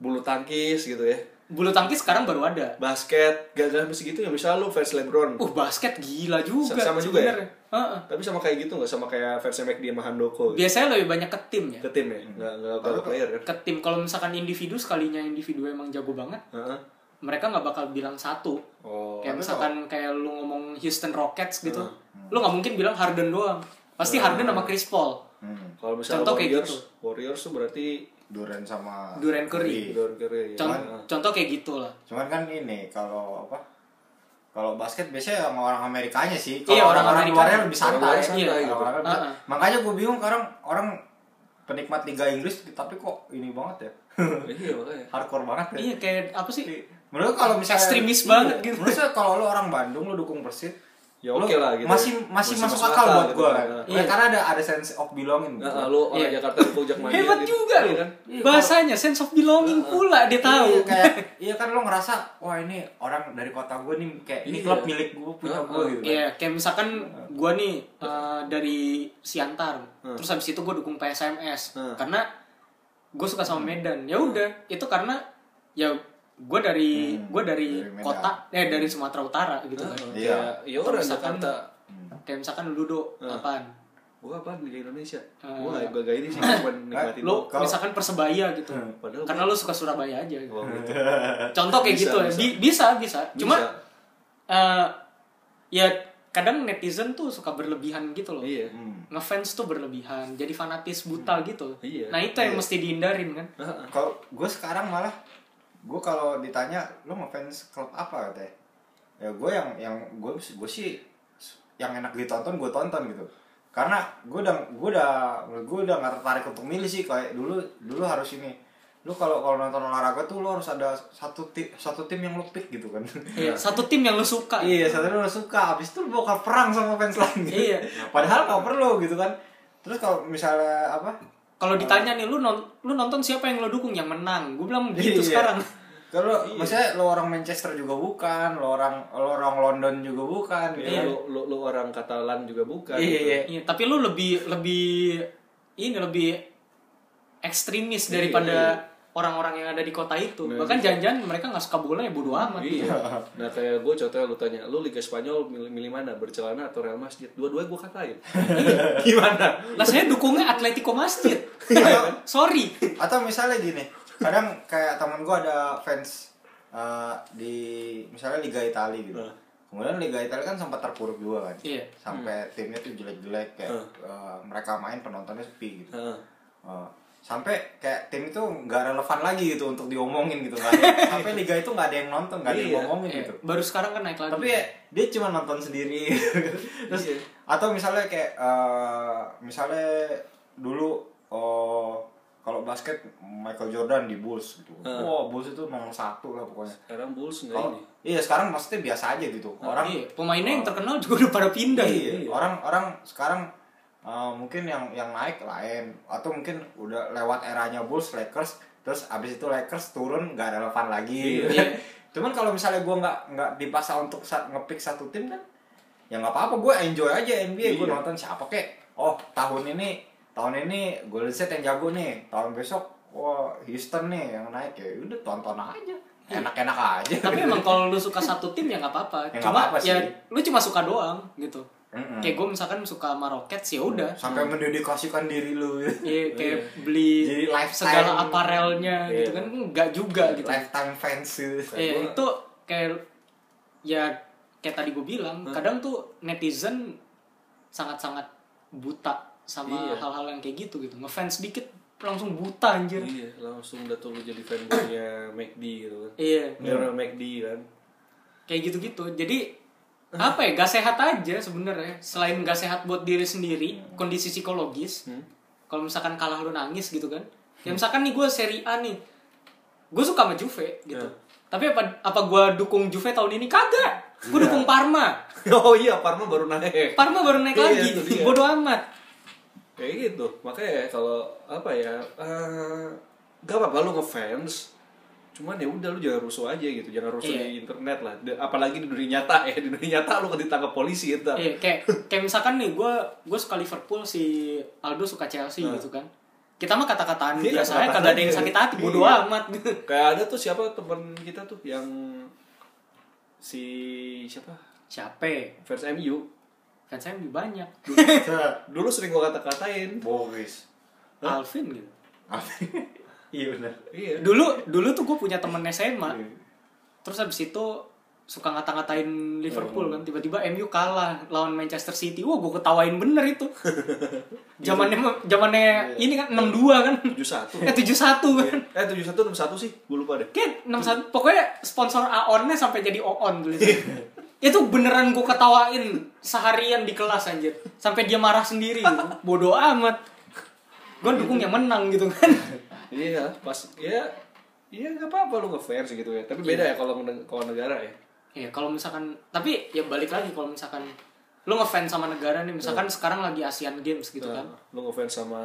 S2: bulu tangkis gitu ya
S1: bulu tangkis sekarang baru ada
S2: basket gak gak mesti gitu ya misalnya lu fans lebron
S1: uh basket gila juga
S2: Sama juga ya?
S1: sebenarnya. Heeh.
S2: tapi sama kayak gitu nggak sama kayak fans McD sama Handoko gitu.
S1: biasanya lebih banyak ke tim ya
S2: ke tim ya nggak nggak ke
S3: Kalau-
S2: player kan
S1: ke tim kalau misalkan individu sekalinya individu emang jago banget
S2: Heeh.
S1: mereka nggak bakal bilang satu
S2: oh
S1: kayak misalkan kayak lu ngomong Houston Rockets gitu lu nggak mungkin bilang Harden doang pasti Harden sama Chris Paul
S3: Hmm,
S2: kalau misalnya
S1: Contoh kayak
S2: Warriors
S1: gitu.
S2: Warriors tuh berarti
S3: Duren sama
S1: Duren Curry.
S2: Warrior Curry, ya.
S1: Con- Iya. contoh kayak gitulah
S3: Cuman kan ini kalau apa? Kalau basket biasanya sama orang Amerikanya sih.
S1: Iya, orang
S3: Kalau orang-orang
S1: Amerika.
S3: luarnya lebih santai.
S2: Orang-orang
S1: Iya,
S2: santai gitu.
S3: Orang-orang-
S1: Heeh.
S3: Makanya gue bingung sekarang orang penikmat Liga Inggris tapi kok ini banget ya.
S2: Iya makanya.
S3: Hardcore banget ya.
S1: iya kayak apa sih
S3: Menurut kalau misalnya
S1: Ekstremis
S3: iya.
S1: banget gitu.
S3: Menurut saya kalau lu orang Bandung lu dukung Persib,
S2: Ya
S3: lu
S2: oke lah gitu.
S3: Masih masih, masuk, akal, buat
S2: gitu.
S3: gue.
S2: Nah,
S1: Iya.
S3: Karena ada ada sense of belonging. gitu.
S2: nah, lu orang
S1: Iya.
S2: Jakarta di Pojok Mania.
S1: hebat
S2: gitu.
S1: juga
S2: Iya
S1: loh
S2: kan?
S1: bahasanya sense of belonging pula dia
S3: Iya,
S1: tahu
S3: kayak iya kan lo ngerasa wah ini orang dari kota gue nih kayak ini
S2: Iya.
S3: klub milik gue punya
S2: Heeh.
S3: gue gitu.
S1: Iya, kayak misalkan gua nih eh, dari Siantar, terus habis itu gue dukung PSMS
S2: Hmm.
S1: karena gue suka sama Medan. Ya udah, itu karena ya gue dari
S3: Hmm,
S1: gue dari,
S3: dari Medan.
S1: kota eh dari Sumatera Utara gitu kan.
S2: Heeh,
S3: Iya.
S2: kayak, Ya orang
S1: Misalkan-
S2: Jakarta.
S1: Kayak misalkan lu do apaan?
S2: Gua apa di Indonesia?
S1: Eh.
S2: Gua nggak- gua gak ini sih cuma nikmatin.
S1: Lu
S3: Kalau-
S1: misalkan Persebaya gitu.
S2: Padahal
S1: karena lu suka Surabaya aja. gitu.
S2: doang gitu.
S1: Contoh kayak
S2: Bisa,
S1: gitu ya.
S2: bisa.
S1: Bi- Bisa, bisa. Cuma
S2: Bisa.
S1: eh, ya kadang netizen tuh suka berlebihan gitu loh.
S2: Iya.
S3: Hmm.
S1: ngefans tuh berlebihan jadi fanatis buta gitu
S2: Iya.
S1: nah itu yang mesti dihindarin kan
S2: Heeh.
S3: Kalau gue sekarang malah gue kalau ditanya lo ngefans klub apa katanya ya gue yang yang gue gue sih yang enak ditonton gue tonton gitu karena gue udah gue udah menurut gue udah nggak tertarik untuk milih sih kayak dulu dulu harus ini lu kalau kalau nonton olahraga tuh lo harus ada satu tim satu tim yang lo pick gitu kan
S1: Iya, satu tim yang lu suka
S3: Iya, satu lu suka, abis itu lu bakal perang sama fans lain. gitu.
S1: Iya.
S3: Padahal nggak perlu gitu kan. Terus kalau misalnya apa?
S1: kalau ditanya nih lu non- lu nonton siapa yang lu dukung yang menang gue bilang begitu
S3: Iya.
S1: sekarang
S3: Kalau maksudnya lo orang Manchester juga bukan, lo orang lo orang London juga bukan gitu.
S2: Iya, lu, lu, lu orang Katalan juga bukan.
S3: Iya,
S2: gitu.
S3: iya.
S1: iya, tapi lu lebih lebih ini lebih ekstremis
S3: Iya,
S1: daripada orang-orang yang ada di kota itu bahkan jangan-jangan mereka nggak suka bola ya bodo amat
S2: Iya. Nah kayak gue contohnya lu tanya, lu Liga Spanyol milih, milih mana? Bercelana atau Real Madrid? Dua-dua gue katain. Gimana?
S1: lah saya dukungnya Atletico Masjid
S3: Iya.
S1: sorry
S3: Atau misalnya gini, kadang kayak temen gue ada fans eh, di misalnya Liga Italia gitu.
S2: Hah.
S3: Kemudian Liga Italia kan sempat terpuruk juga kan.
S1: Iya.
S3: Sampai timnya tuh jelek-jelek kayak
S2: Hah.
S3: eh, mereka main penontonnya sepi gitu.
S2: Heeh.
S3: Uh, sampai kayak tim itu nggak relevan lagi gitu untuk diomongin gitu nggak ada- sampai liga itu nggak ada yang nonton nggak ada yang
S2: Iya.
S3: ngomongin
S1: Iya,
S3: gitu
S1: baru sekarang kan naik lagi
S3: tapi ya, dia cuma nonton sendiri terus
S2: Iya.
S3: atau misalnya kayak eh, misalnya dulu oh, kalau basket Michael Jordan di Bulls gitu
S2: Heeh.
S3: wah Bulls itu nomor satu lah pokoknya
S2: Sekarang Bulls nggak
S3: Kalau-
S2: ini. Nah,
S3: iya sekarang maksudnya biasa aja gitu orang
S1: Iya, pemainnya yang terkenal juga udah pada pindah
S3: Iya, orang-orang sekarang uh, mungkin yang yang naik lain atau mungkin udah lewat eranya Bulls Lakers terus abis itu Lakers turun nggak relevan lagi
S1: Iya.
S3: cuman kalau misalnya gue nggak nggak dipaksa untuk sa- ngepick satu tim kan ya nggak apa-apa gue enjoy aja NBA gue
S2: Iya.
S3: nonton siapa kek oh tahun ini tahun ini Golden State yang jago nih tahun besok wah Houston nih yang naik ya udah tonton aja enak-enak aja
S1: Iya. tapi emang kalau lu suka satu tim ya nggak apa-apa
S3: Ya nggak
S1: cuma
S3: apa-apa sih.
S1: ya lu cuma suka doang gitu
S3: Mm-mm. Mm.
S1: kayak gue misalkan suka sama Rockets ya udah
S3: sampai mendedikasikan diri lu
S1: Iya, kayak beli
S3: Jadi lifetime.
S1: segala aparelnya gitu
S2: Iya.
S1: kan nggak juga gitu
S3: lifetime fans gitu.
S1: Iya,
S2: Gua-
S1: itu kayak ya kayak tadi gue bilang kadang tuh netizen sangat-sangat buta sama
S2: Iya.
S1: hal-hal yang kayak gitu gitu ngefans dikit langsung buta anjir
S2: Iya, langsung udah tuh lu jadi fanboynya McD gitu kan.
S1: iya
S2: Darah McD kan.
S1: kayak gitu-gitu jadi apa ya gak sehat aja sebenarnya selain gak sehat buat diri sendiri
S2: Hmm.
S1: kondisi psikologis kalau misalkan kalah lu nangis gitu kan ya
S2: Hmm.
S1: misalkan nih gue seri A nih gue suka sama Juve gitu
S2: Ya.
S1: tapi apa apa gue dukung Juve tahun ini kagak gue
S2: Ya.
S1: dukung Parma
S2: Oh iya, Parma baru naik.
S1: Parma baru naik
S2: Iya,
S1: lagi
S2: itu dia.
S1: bodoh amat
S2: Kayak gitu. Makanya kalau apa ya, eh, gak apa-apa lu ngefans. Cuman ya udah lu jangan rusuh aja gitu, jangan rusuh
S1: Iya.
S2: di internet lah. Da- Apalagi di dunia nyata ya, di dunia nyata lu ditangkap polisi gitu. itu.
S1: Iya, kayak kayak misalkan nih gue gue suka Liverpool si Aldo suka Chelsea gitu kan kita mah kata-kataan
S2: Nah. Iya,
S1: biasa aja
S2: kata-kataan
S1: kagak ada yang
S2: aja.
S1: sakit hati bodoh
S2: Iya.
S1: amat
S2: Kayak ada tuh siapa teman kita tuh yang si siapa?
S1: capek
S2: Fans MU.
S1: kan ya? saya lebih banyak
S2: Dulu sering gua kata-katain.
S3: Boris.
S1: Alvin gitu
S3: Iya benar.
S2: Iya.
S1: Eh, dulu dulu tuh gue punya temen SMA terus habis itu suka ngata-ngatain Liverpool kan tiba-tiba MU kalah lawan Manchester City wah gue ketawain bener itu zamannya zamannya ini kan 62 kan
S2: 71.
S1: eh 71 kan
S2: Eh 71 61 sih, gua lupa deh.
S1: Kayak 61 pokoknya sponsor Aonnya sampai jadi Oon tulisannya. itu beneran gue ketawain seharian di kelas anjir sampai dia marah sendiri bodoh amat gue dukung yang menang gitu kan
S2: Iya, pas ya iya nggak apa-apa lu ngefans gitu ya. Tapi
S1: Iya.
S2: beda ya kalau neg- kalau negara ya.
S1: ya kalau misalkan tapi ya balik lagi kalau misalkan lu ngefans sama negara nih misalkan
S2: Iya.
S1: sekarang lagi Asian Games gitu kan
S2: Nah, lu ngefans sama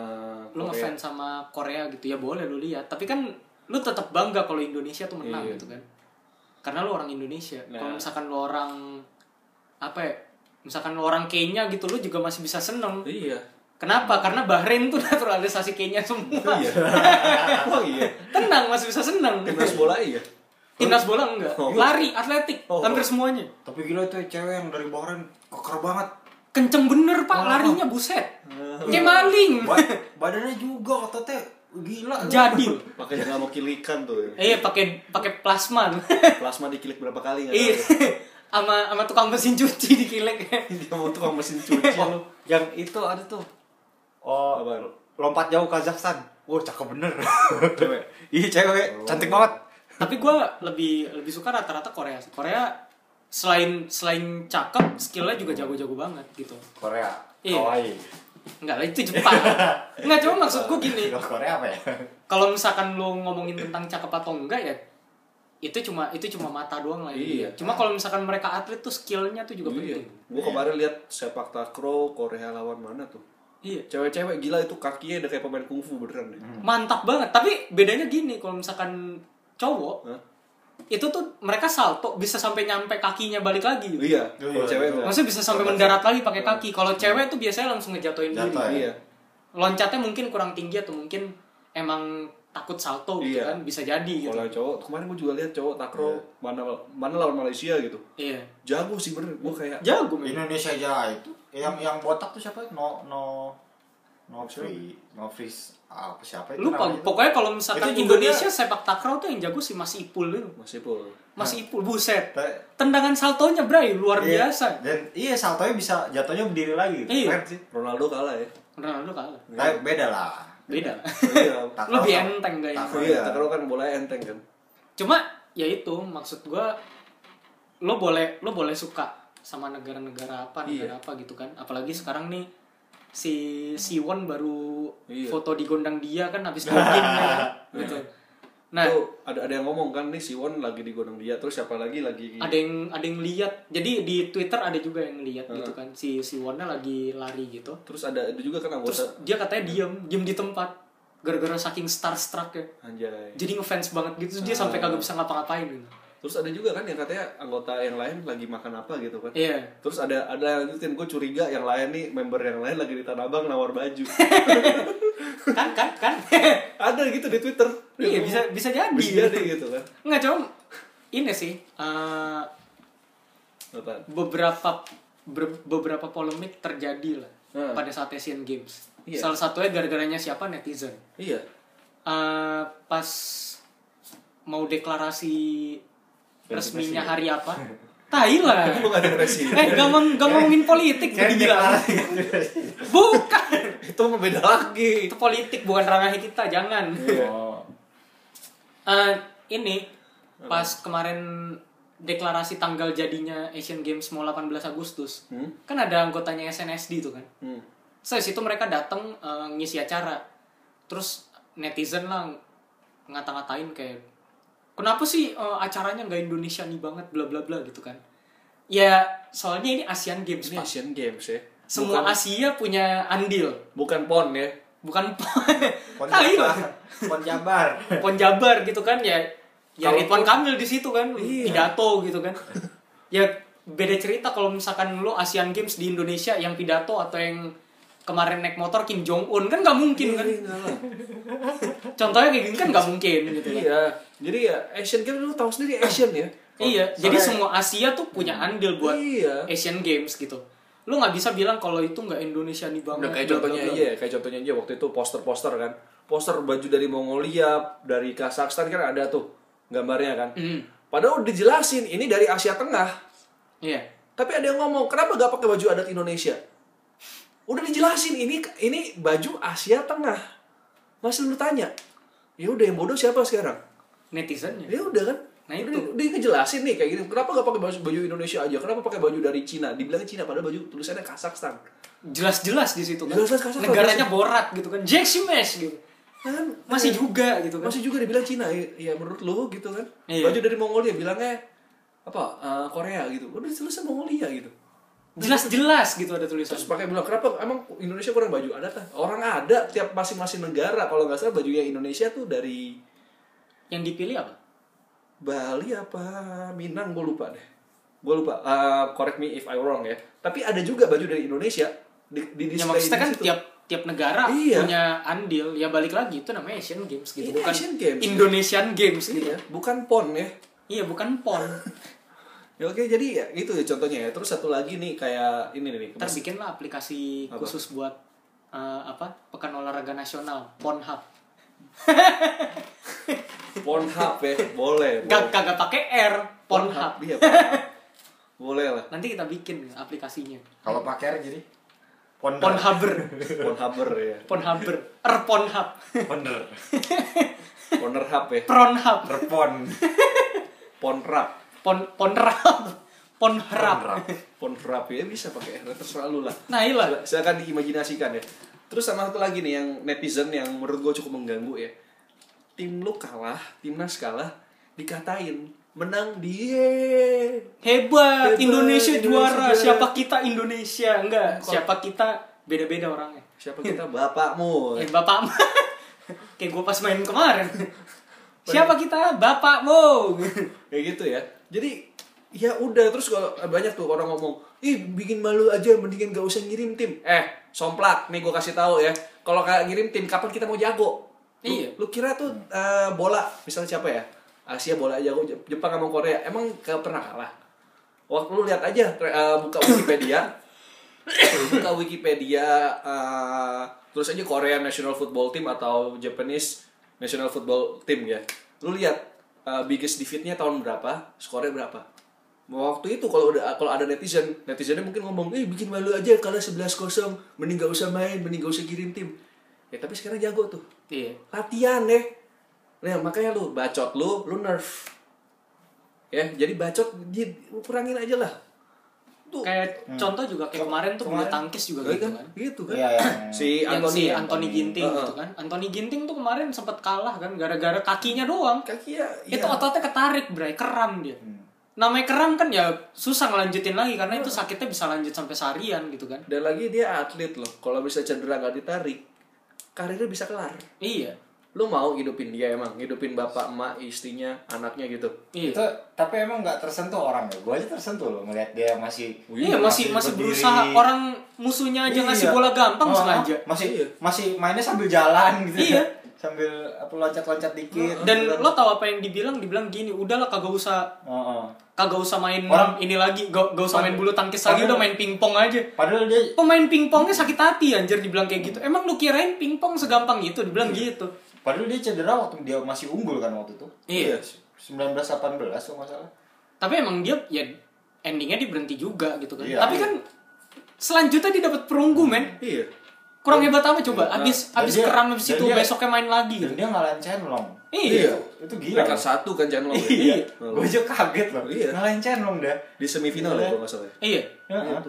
S1: lu
S2: Korea.
S1: ngefans sama Korea gitu ya boleh lu lihat tapi kan lu tetap bangga kalau Indonesia tuh menang
S2: Iya.
S1: gitu kan karena lu orang Indonesia
S2: Nah.
S1: kalau misalkan lu orang apa ya misalkan lu orang Kenya gitu lu juga masih bisa seneng
S2: Iya.
S1: kenapa karena Bahrain tuh naturalisasi Kenya semua
S2: Iya. Wah iya.
S1: tenang masih bisa seneng
S2: Timnas bola iya.
S1: timnas bola enggak
S2: Oh.
S1: lari atletik
S2: Oh.
S1: hampir semuanya
S3: Tapi gila tuh cewek yang dari Bahrain keker banget.
S1: kenceng bener pak larinya buset kayak maling
S3: Ba- badannya juga ototnya gila.
S1: jadi Iya.
S2: Makanya nggak mau kilikan tuh.
S1: eh
S2: ya.
S1: pakai pakai plasma tuh.
S2: Plasma dikilik berapa kali nggak
S1: Iya.
S2: tahu.
S1: Sama sama tukang mesin cuci dikilek.
S2: Dia mau tukang mesin cuci lu.
S3: Yang itu ada tuh. Oh,
S2: Apa?
S3: lompat jauh Kazakhstan. Wah, cakep bener.
S2: Cewek.
S3: Iya, cewek. Cantik banget.
S1: Tapi gue lebih lebih suka rata-rata Korea. sih. Korea selain selain cakep, skillnya juga jago-jago banget gitu.
S3: Korea.
S1: Iya.
S3: Kawaii.
S1: Enggak lah itu Jepang. Enggak cuma maksud gue gini.
S3: Gila, Korea apa ya?
S1: Kalau misalkan lo ngomongin tentang cakep atau enggak ya itu cuma itu cuma mata doang lah ya.
S2: Iya.
S1: Cuma kalau misalkan mereka atlet tuh skillnya tuh juga
S2: Iya.
S1: penting.
S2: Gua kemarin lihat sepak takraw Korea lawan mana tuh.
S1: Iya.
S2: Cewek-cewek gila itu kakinya udah kayak pemain kungfu beneran deh.
S1: Hmm. Mantap banget. Tapi bedanya gini kalau misalkan cowok
S2: Hah?
S1: itu tuh mereka salto bisa sampai nyampe kakinya balik lagi gitu.
S2: Iya,
S3: Iya,
S2: kalau cewek
S3: iya.
S2: nggak.
S1: Maksudnya bisa sampai mendarat lagi pakai kaki. Kalau cewek tuh biasanya langsung ngejatuhin diri.
S3: Jatuh
S2: Iya.
S3: ya.
S1: Loncatnya mungkin kurang tinggi atau mungkin emang takut salto gitu
S2: Iya.
S1: kan bisa jadi gitu.
S2: Kalau cowok, kemarin gue juga lihat cowok takro mana mana lawan Malaysia gitu.
S1: Iya.
S2: Jago sih bener, gue kayak
S1: Jago men.
S3: Indonesia aja itu yang yang botak tuh siapa? No no no free no free apa siapa itu?
S1: Lupa.
S3: namanya?
S1: Pokoknya kalau misalkan
S3: Itu juga ya.
S1: Indonesia sepak takraw tuh yang jago sih Mas Ipul itu.
S2: masih pul.
S1: Mas Ipul buset.
S3: Ta-
S1: Tendangan saltonya bray luar
S3: Iya.
S1: biasa.
S3: Dan iya saltonya bisa jatuhnya berdiri lagi. gitu.
S1: Iya.
S3: Keren sih.
S2: Ronaldo kalah ya.
S1: Ronaldo kalah.
S3: Tapi beda lah.
S1: Beda.
S2: iya.
S3: Tak-
S1: Lebih enteng gayanya.
S3: Tak-
S2: iya, takro kan bola enteng kan.
S1: cuma ya itu maksud gua lo boleh lo boleh suka sama negara-negara apa negara
S2: Iya.
S1: apa gitu kan apalagi sekarang nih si Siwon baru
S2: Iya.
S1: foto di gondang dia kan habis doping kan, gitu nah
S2: Tuh ada ada yang ngomong kan nih Siwon lagi digonang dia, terus siapa lagi lagi
S1: ada yang ada yang lihat jadi di Twitter ada juga yang lihat gitu kan si Siwonnya lagi lari gitu
S2: terus ada ada juga kan
S1: terus
S2: anggota
S1: dia katanya diem diem di tempat gara-gara saking starstruck ya
S2: anjay.
S1: jadi ngefans banget gitu terus dia sampai kagak bisa ngapa-ngapain gitu
S2: Terus ada juga kan yang katanya anggota yang lain lagi makan apa gitu kan.
S1: iya
S2: Terus ada ada yang lanjutin gue curiga yang lain nih member yang lain lagi di Tanah Abang nawar baju.
S1: kan kan kan
S2: ada gitu di Twitter.
S1: Iya bisa bisa jadi.
S2: Bisa jadi gitu kan.
S1: Nggak cuma ini sih eh,
S2: Apa?
S1: beberapa ber- beberapa polemik terjadi lah
S2: Hmm.
S1: pada saat Asian Games.
S2: Iya.
S1: Salah satunya gara-garanya siapa netizen.
S2: Iya.
S1: Eh, pas mau deklarasi resminya hari apa? Thailand.
S2: Lu nggak ada resi.
S1: eh, gak, mau gak ngomongin politik jadi bilang. Bukan.
S2: Itu mah beda lagi.
S1: Itu politik bukan ranahnya kita, jangan.
S3: Oh.
S1: Eh, ini pas kemarin deklarasi tanggal jadinya Asian Games mau 18 Agustus.
S2: Hmm?
S1: Kan ada anggotanya SNSD itu kan.
S2: Hmm.
S1: So, situ mereka datang eh, ngisi acara. Terus netizen lah ngata-ngatain kayak kenapa sih eh, acaranya nggak Indonesia nih banget bla bla bla gitu kan. Ya, soalnya ini Asian Games,
S2: Ini
S1: Pak.
S2: Asian Games ya.
S1: Semua
S2: bukan,
S1: Asia punya andil,
S2: bukan PON ya.
S1: bukan
S3: Ponjabar.
S1: Thailand.
S3: Ponjabar.
S1: Ponjabar gitu kan ya ya
S2: Kalau- Iya.
S1: Ridwan Kamil di situ kan pidato gitu kan ya beda cerita kalau misalkan lo Asian Games di Indonesia yang pidato atau yang kemarin naik motor Kim Jong Un kan nggak mungkin kan
S2: Iya,
S1: contohnya kayak gini kan nggak mungkin gitu kan
S2: Iya. Jadi ya Asian Games lu tahu sendiri Asian ya.
S1: iya jadi
S3: Soalnya-
S1: semua Asia tuh punya andil buat
S2: Iya.
S1: Asian Games gitu lo nggak bisa bilang kalau itu nggak Indonesia nih banget
S2: Udah kayak
S1: bla, bla,
S2: contohnya iya.
S1: bla.
S2: aja, kayak contohnya aja waktu itu poster-poster kan. Poster baju dari Mongolia, dari Kazakhstan kan ada tuh gambarnya kan.
S1: Mm,
S2: Padahal udah dijelasin ini dari Asia Tengah.
S1: iya
S2: Tapi ada yang ngomong, kenapa gak pakai baju adat Indonesia? Udah dijelasin ini ini baju Asia Tengah. Masih lu tanya. Ya udah yang bodoh siapa sekarang?
S1: netizennya
S2: Ya udah kan.
S1: Nah,
S2: Udah-
S1: itu.
S2: udah, ngejelasin nih kayak gini. Kenapa gak pakai baju, baju Indonesia aja? Kenapa pakai baju dari Cina? Dibilangnya Cina padahal baju tulisannya Kazakhstan.
S1: jelas-jelas di situ kan
S2: Jelas-jelas kasar,
S1: negaranya borat gitu kan Jeximesh gitu
S2: Kan
S1: masih juga gitu kan
S2: masih juga dibilang Cina ya, ya menurut lo gitu kan
S1: Iya.
S2: baju dari Mongolia bilangnya apa eh, Korea gitu udah tulisnya Mongolia gitu
S1: jelas-jelas gitu ada tulisan
S2: terus pakai bilang kenapa emang Indonesia kurang baju adat ah?" orang ada tiap masing-masing negara kalau nggak salah bajunya Indonesia tuh dari
S1: yang dipilih apa
S2: Bali apa Minang gue lupa deh gue lupa Eh, correct me if I wrong ya tapi ada juga baju dari Indonesia di,
S1: ya
S2: di display
S1: maksudnya
S2: di
S1: kan
S2: situ.
S1: tiap tiap negara
S2: Iya.
S1: punya andil ya balik lagi itu namanya Asian Games gitu
S2: Ini
S1: bukan
S2: Asian Games.
S1: Indonesian Games gitu
S2: Iya, bukan pon ya
S1: iya bukan pon
S2: Ya, oke jadi ya itu ya contohnya ya terus satu lagi nih kayak ini nih
S1: ntar bikinlah aplikasi
S2: Apa?
S1: khusus buat eh, apa pekan olahraga nasional Pornhub
S2: Pornhub ya, boleh.
S1: gak
S2: boleh.
S1: kagak pakai R Pornhub
S2: Iya, Pornhub. boleh lah.
S1: nanti kita bikin aplikasinya
S3: Kalau pakai R jadi ponder.
S1: Pornhubber
S2: Pornhubber ya.
S1: Pornhubber er Pornhub
S3: Ponder.
S2: Pornhub ya.
S1: Pornhub
S3: Terpon.
S2: Pornrap.
S1: Pon Pornhub Pornhub
S2: Pornrap ya bisa pakai R terserah lu lah.
S1: nah iyalah
S2: Sila- Silakan diimajinasikan ya. Terus sama satu lagi nih yang netizen yang menurut gue cukup mengganggu ya. Tim lu kalah, timnas kalah, dikatain menang dia.
S1: Hebat,
S2: Hebat,
S1: Indonesia,
S2: Indonesia
S1: juara.
S2: juara.
S1: Siapa kita Indonesia? Enggak,
S2: Kok-
S1: siapa kita beda-beda orangnya.
S2: Siapa kita bapakmu?
S1: Eh, bapakmu. Kayak gue pas main kemarin. siapa kita? Bapakmu.
S2: kayak gitu ya jadi ya udah terus kalau banyak tuh orang ngomong ih bikin malu aja mendingan gak usah ngirim tim eh somplak nih gue kasih tahu ya kalau kagak ngirim tim kapan kita mau jago Lu-
S1: Iya.
S2: lu kira tuh eh, bola misalnya siapa ya Asia bola jago Jep- Jepang sama Korea emang gak pernah kalah waktu lu lihat aja tre- eh, buka Wikipedia buka Wikipedia eh, terus aja Korea National Football Team atau Japanese National Football Team ya lu lihat eh, biggest defeatnya tahun berapa skornya berapa waktu itu kalau udah kalau ada netizen netizennya mungkin ngomong eh bikin malu aja kalah 11-0 mending gak usah main mending gak usah kirim tim ya tapi sekarang jago tuh
S1: Iya.
S2: latihan deh nah makanya lu bacot lu lu nerf ya jadi bacot di- kurangin aja lah tuh
S1: Kayak
S2: Hmm.
S1: contoh juga kayak kemarin tuh bulu tangkis juga gitu kan.
S2: gitu kan
S3: Iya, yang
S2: si
S1: Yang
S2: Anthony
S1: si
S2: ya?
S1: Anthony Ginting
S2: Heeh.
S1: gitu kan. Anthony Ginting tuh kemarin sempat kalah kan gara-gara kakinya doang.
S2: kaki ya iya. Hmm.
S1: Itu ototnya ketarik, Bray, keram dia. Namanya keram kan ya susah ngelanjutin lagi karena itu sakitnya bisa lanjut sampai seharian gitu kan.
S2: dan lagi dia atlet loh kalau bisa cedera nggak ditarik karirnya bisa kelar
S1: Iya.
S2: lu mau hidupin dia emang hidupin bapak emak istrinya anaknya gitu
S1: Iya.
S3: Itu tapi emang nggak tersentuh orang ya. Gue aja tersentuh loh melihat dia masih
S1: Iya masih masih
S3: berdiri.
S1: berusaha orang musunya aja ngasih
S3: Iya.
S1: bola gampang
S3: Oh,
S1: sengaja.
S3: Masih
S2: Iya.
S3: masih mainnya sambil jalan gitu.
S1: Iya,
S3: sambil apa loncat-loncat dikit
S1: Dan
S3: gitu kan.
S1: lo tau apa yang dibilang? Dibilang gini, udahlah kagak usah
S3: Heeh.
S1: kagak usah main
S3: Orang-
S1: ini lagi, gak, gak usah main bulu tangkis lagi,
S3: Padahal-
S1: udah main pingpong aja.
S3: padahal dia
S1: Pemain pingpongnya
S3: Hmm.
S1: sakit hati anjir dibilang kayak gitu. Emang lu kirain pingpong segampang gitu? Dibilang
S3: Iya.
S1: gitu.
S3: padahal dia cedera waktu dia masih unggul kan waktu itu
S1: Iya.
S3: 1918 kalau nggak salah
S1: Tapi emang dia ya endingnya diberhenti juga gitu kan.
S3: Iya.
S1: Tapi kan selanjutnya dia dapat perunggu men.
S2: Iya.
S1: Kurang hebat apa coba? Abis
S3: Iya. dan
S1: abis
S3: dia-
S1: keram abis
S3: dan
S1: itu
S3: dia-
S1: besoknya main lagi.
S3: dan dia ngalahin Chenlong
S1: Iya.
S3: itu gila
S2: Rekor
S3: loh.
S2: satu kan Chen Long.
S3: iya
S2: Hmm.
S3: gue aja kaget loh
S2: Iya.
S3: ngalahin Chenlong dah
S2: Di semifinal
S3: Iya.
S2: ya kalau nggak salah. ya?
S1: Iya.
S3: Heeh.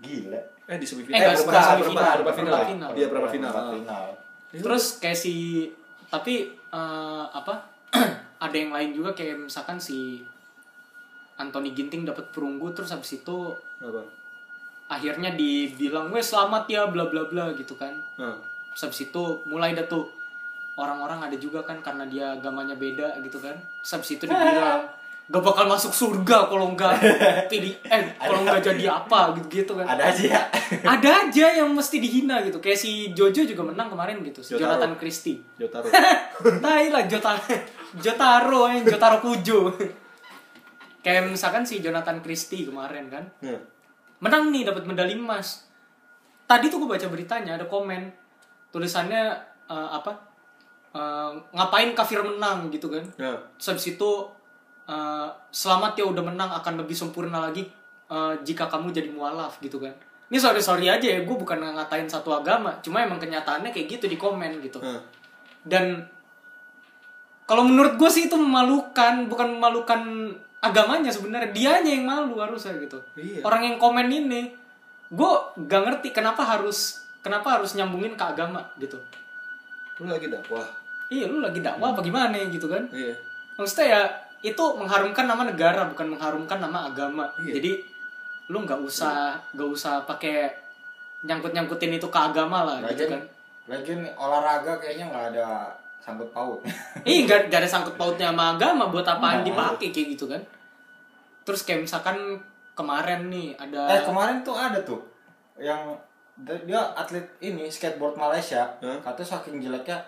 S3: gila
S2: Eh di
S1: Eh,
S2: semifinal.
S1: nggak, nggak,
S2: berapa- berapa-
S1: semifinal,
S2: berapa final?
S1: berapa final.
S2: Iya berapa final?
S3: Perempat final
S1: Terus kayak si tapi eh, apa? ada yang lain juga kayak misalkan si Anthony Ginting dapat perunggu terus abis itu
S2: Apa?
S1: akhirnya dibilang wes selamat ya bla bla bla gitu kan.
S2: Nah,
S1: Terus habis itu mulai dah tuh orang-orang ada juga kan karena dia agamanya beda gitu kan. Terus habis itu dibilang gak bakal masuk surga kalau enggak pilih eh kalau enggak jadi apa gitu-gitu kan.
S3: ada aja ya
S1: Ada aja yang mesti dihina gitu. Kayak si Jojo juga menang kemarin gitu. Si
S2: Jotaro.
S1: Jonathan Christie.
S2: Jotaro.
S1: Tai Nah, lah Jotaro. Jotaro eh, Jotaro Kujo. Kayak misalkan si Jonathan Christie kemarin kan
S2: Nah,
S1: menang nih dapat medali emas tadi tuh gue baca beritanya ada komen tulisannya eh, apa Eh, ngapain kafir menang gitu kan
S2: nah.
S1: Terus habis itu eh, selamat ya udah menang akan lebih sempurna lagi eh, jika kamu jadi mualaf gitu kan ini sorry sorry aja ya gue bukan ngatain satu agama cuma emang kenyataannya kayak gitu di komen gitu
S2: Nah.
S1: dan kalau menurut gue sih itu memalukan bukan memalukan agamanya sebenarnya dianya yang malu harusnya gitu
S2: Iya.
S1: orang yang komen ini gue gak ngerti kenapa harus kenapa harus nyambungin ke agama gitu
S2: Lu lagi dakwah.
S1: iya lu lagi dakwah apa gimana gitu kan
S2: Iya.
S1: maksudnya ya itu mengharumkan nama negara bukan mengharumkan nama agama
S2: Iya.
S1: jadi lu nggak usah nggak usah pakai nyangkut nyangkutin itu ke agama lah gitu
S3: lagian
S1: kan
S3: lagian olahraga kayaknya nggak ada sangkut paut
S1: Ih, gak, ada sangkut pautnya sama agama buat apaan dipakai kayak gitu kan. Terus kayak misalkan kemarin nih ada
S3: eh kemarin tuh ada tuh yang dia dia atlet ini skateboard Malaysia
S2: Hah?
S3: katanya saking jeleknya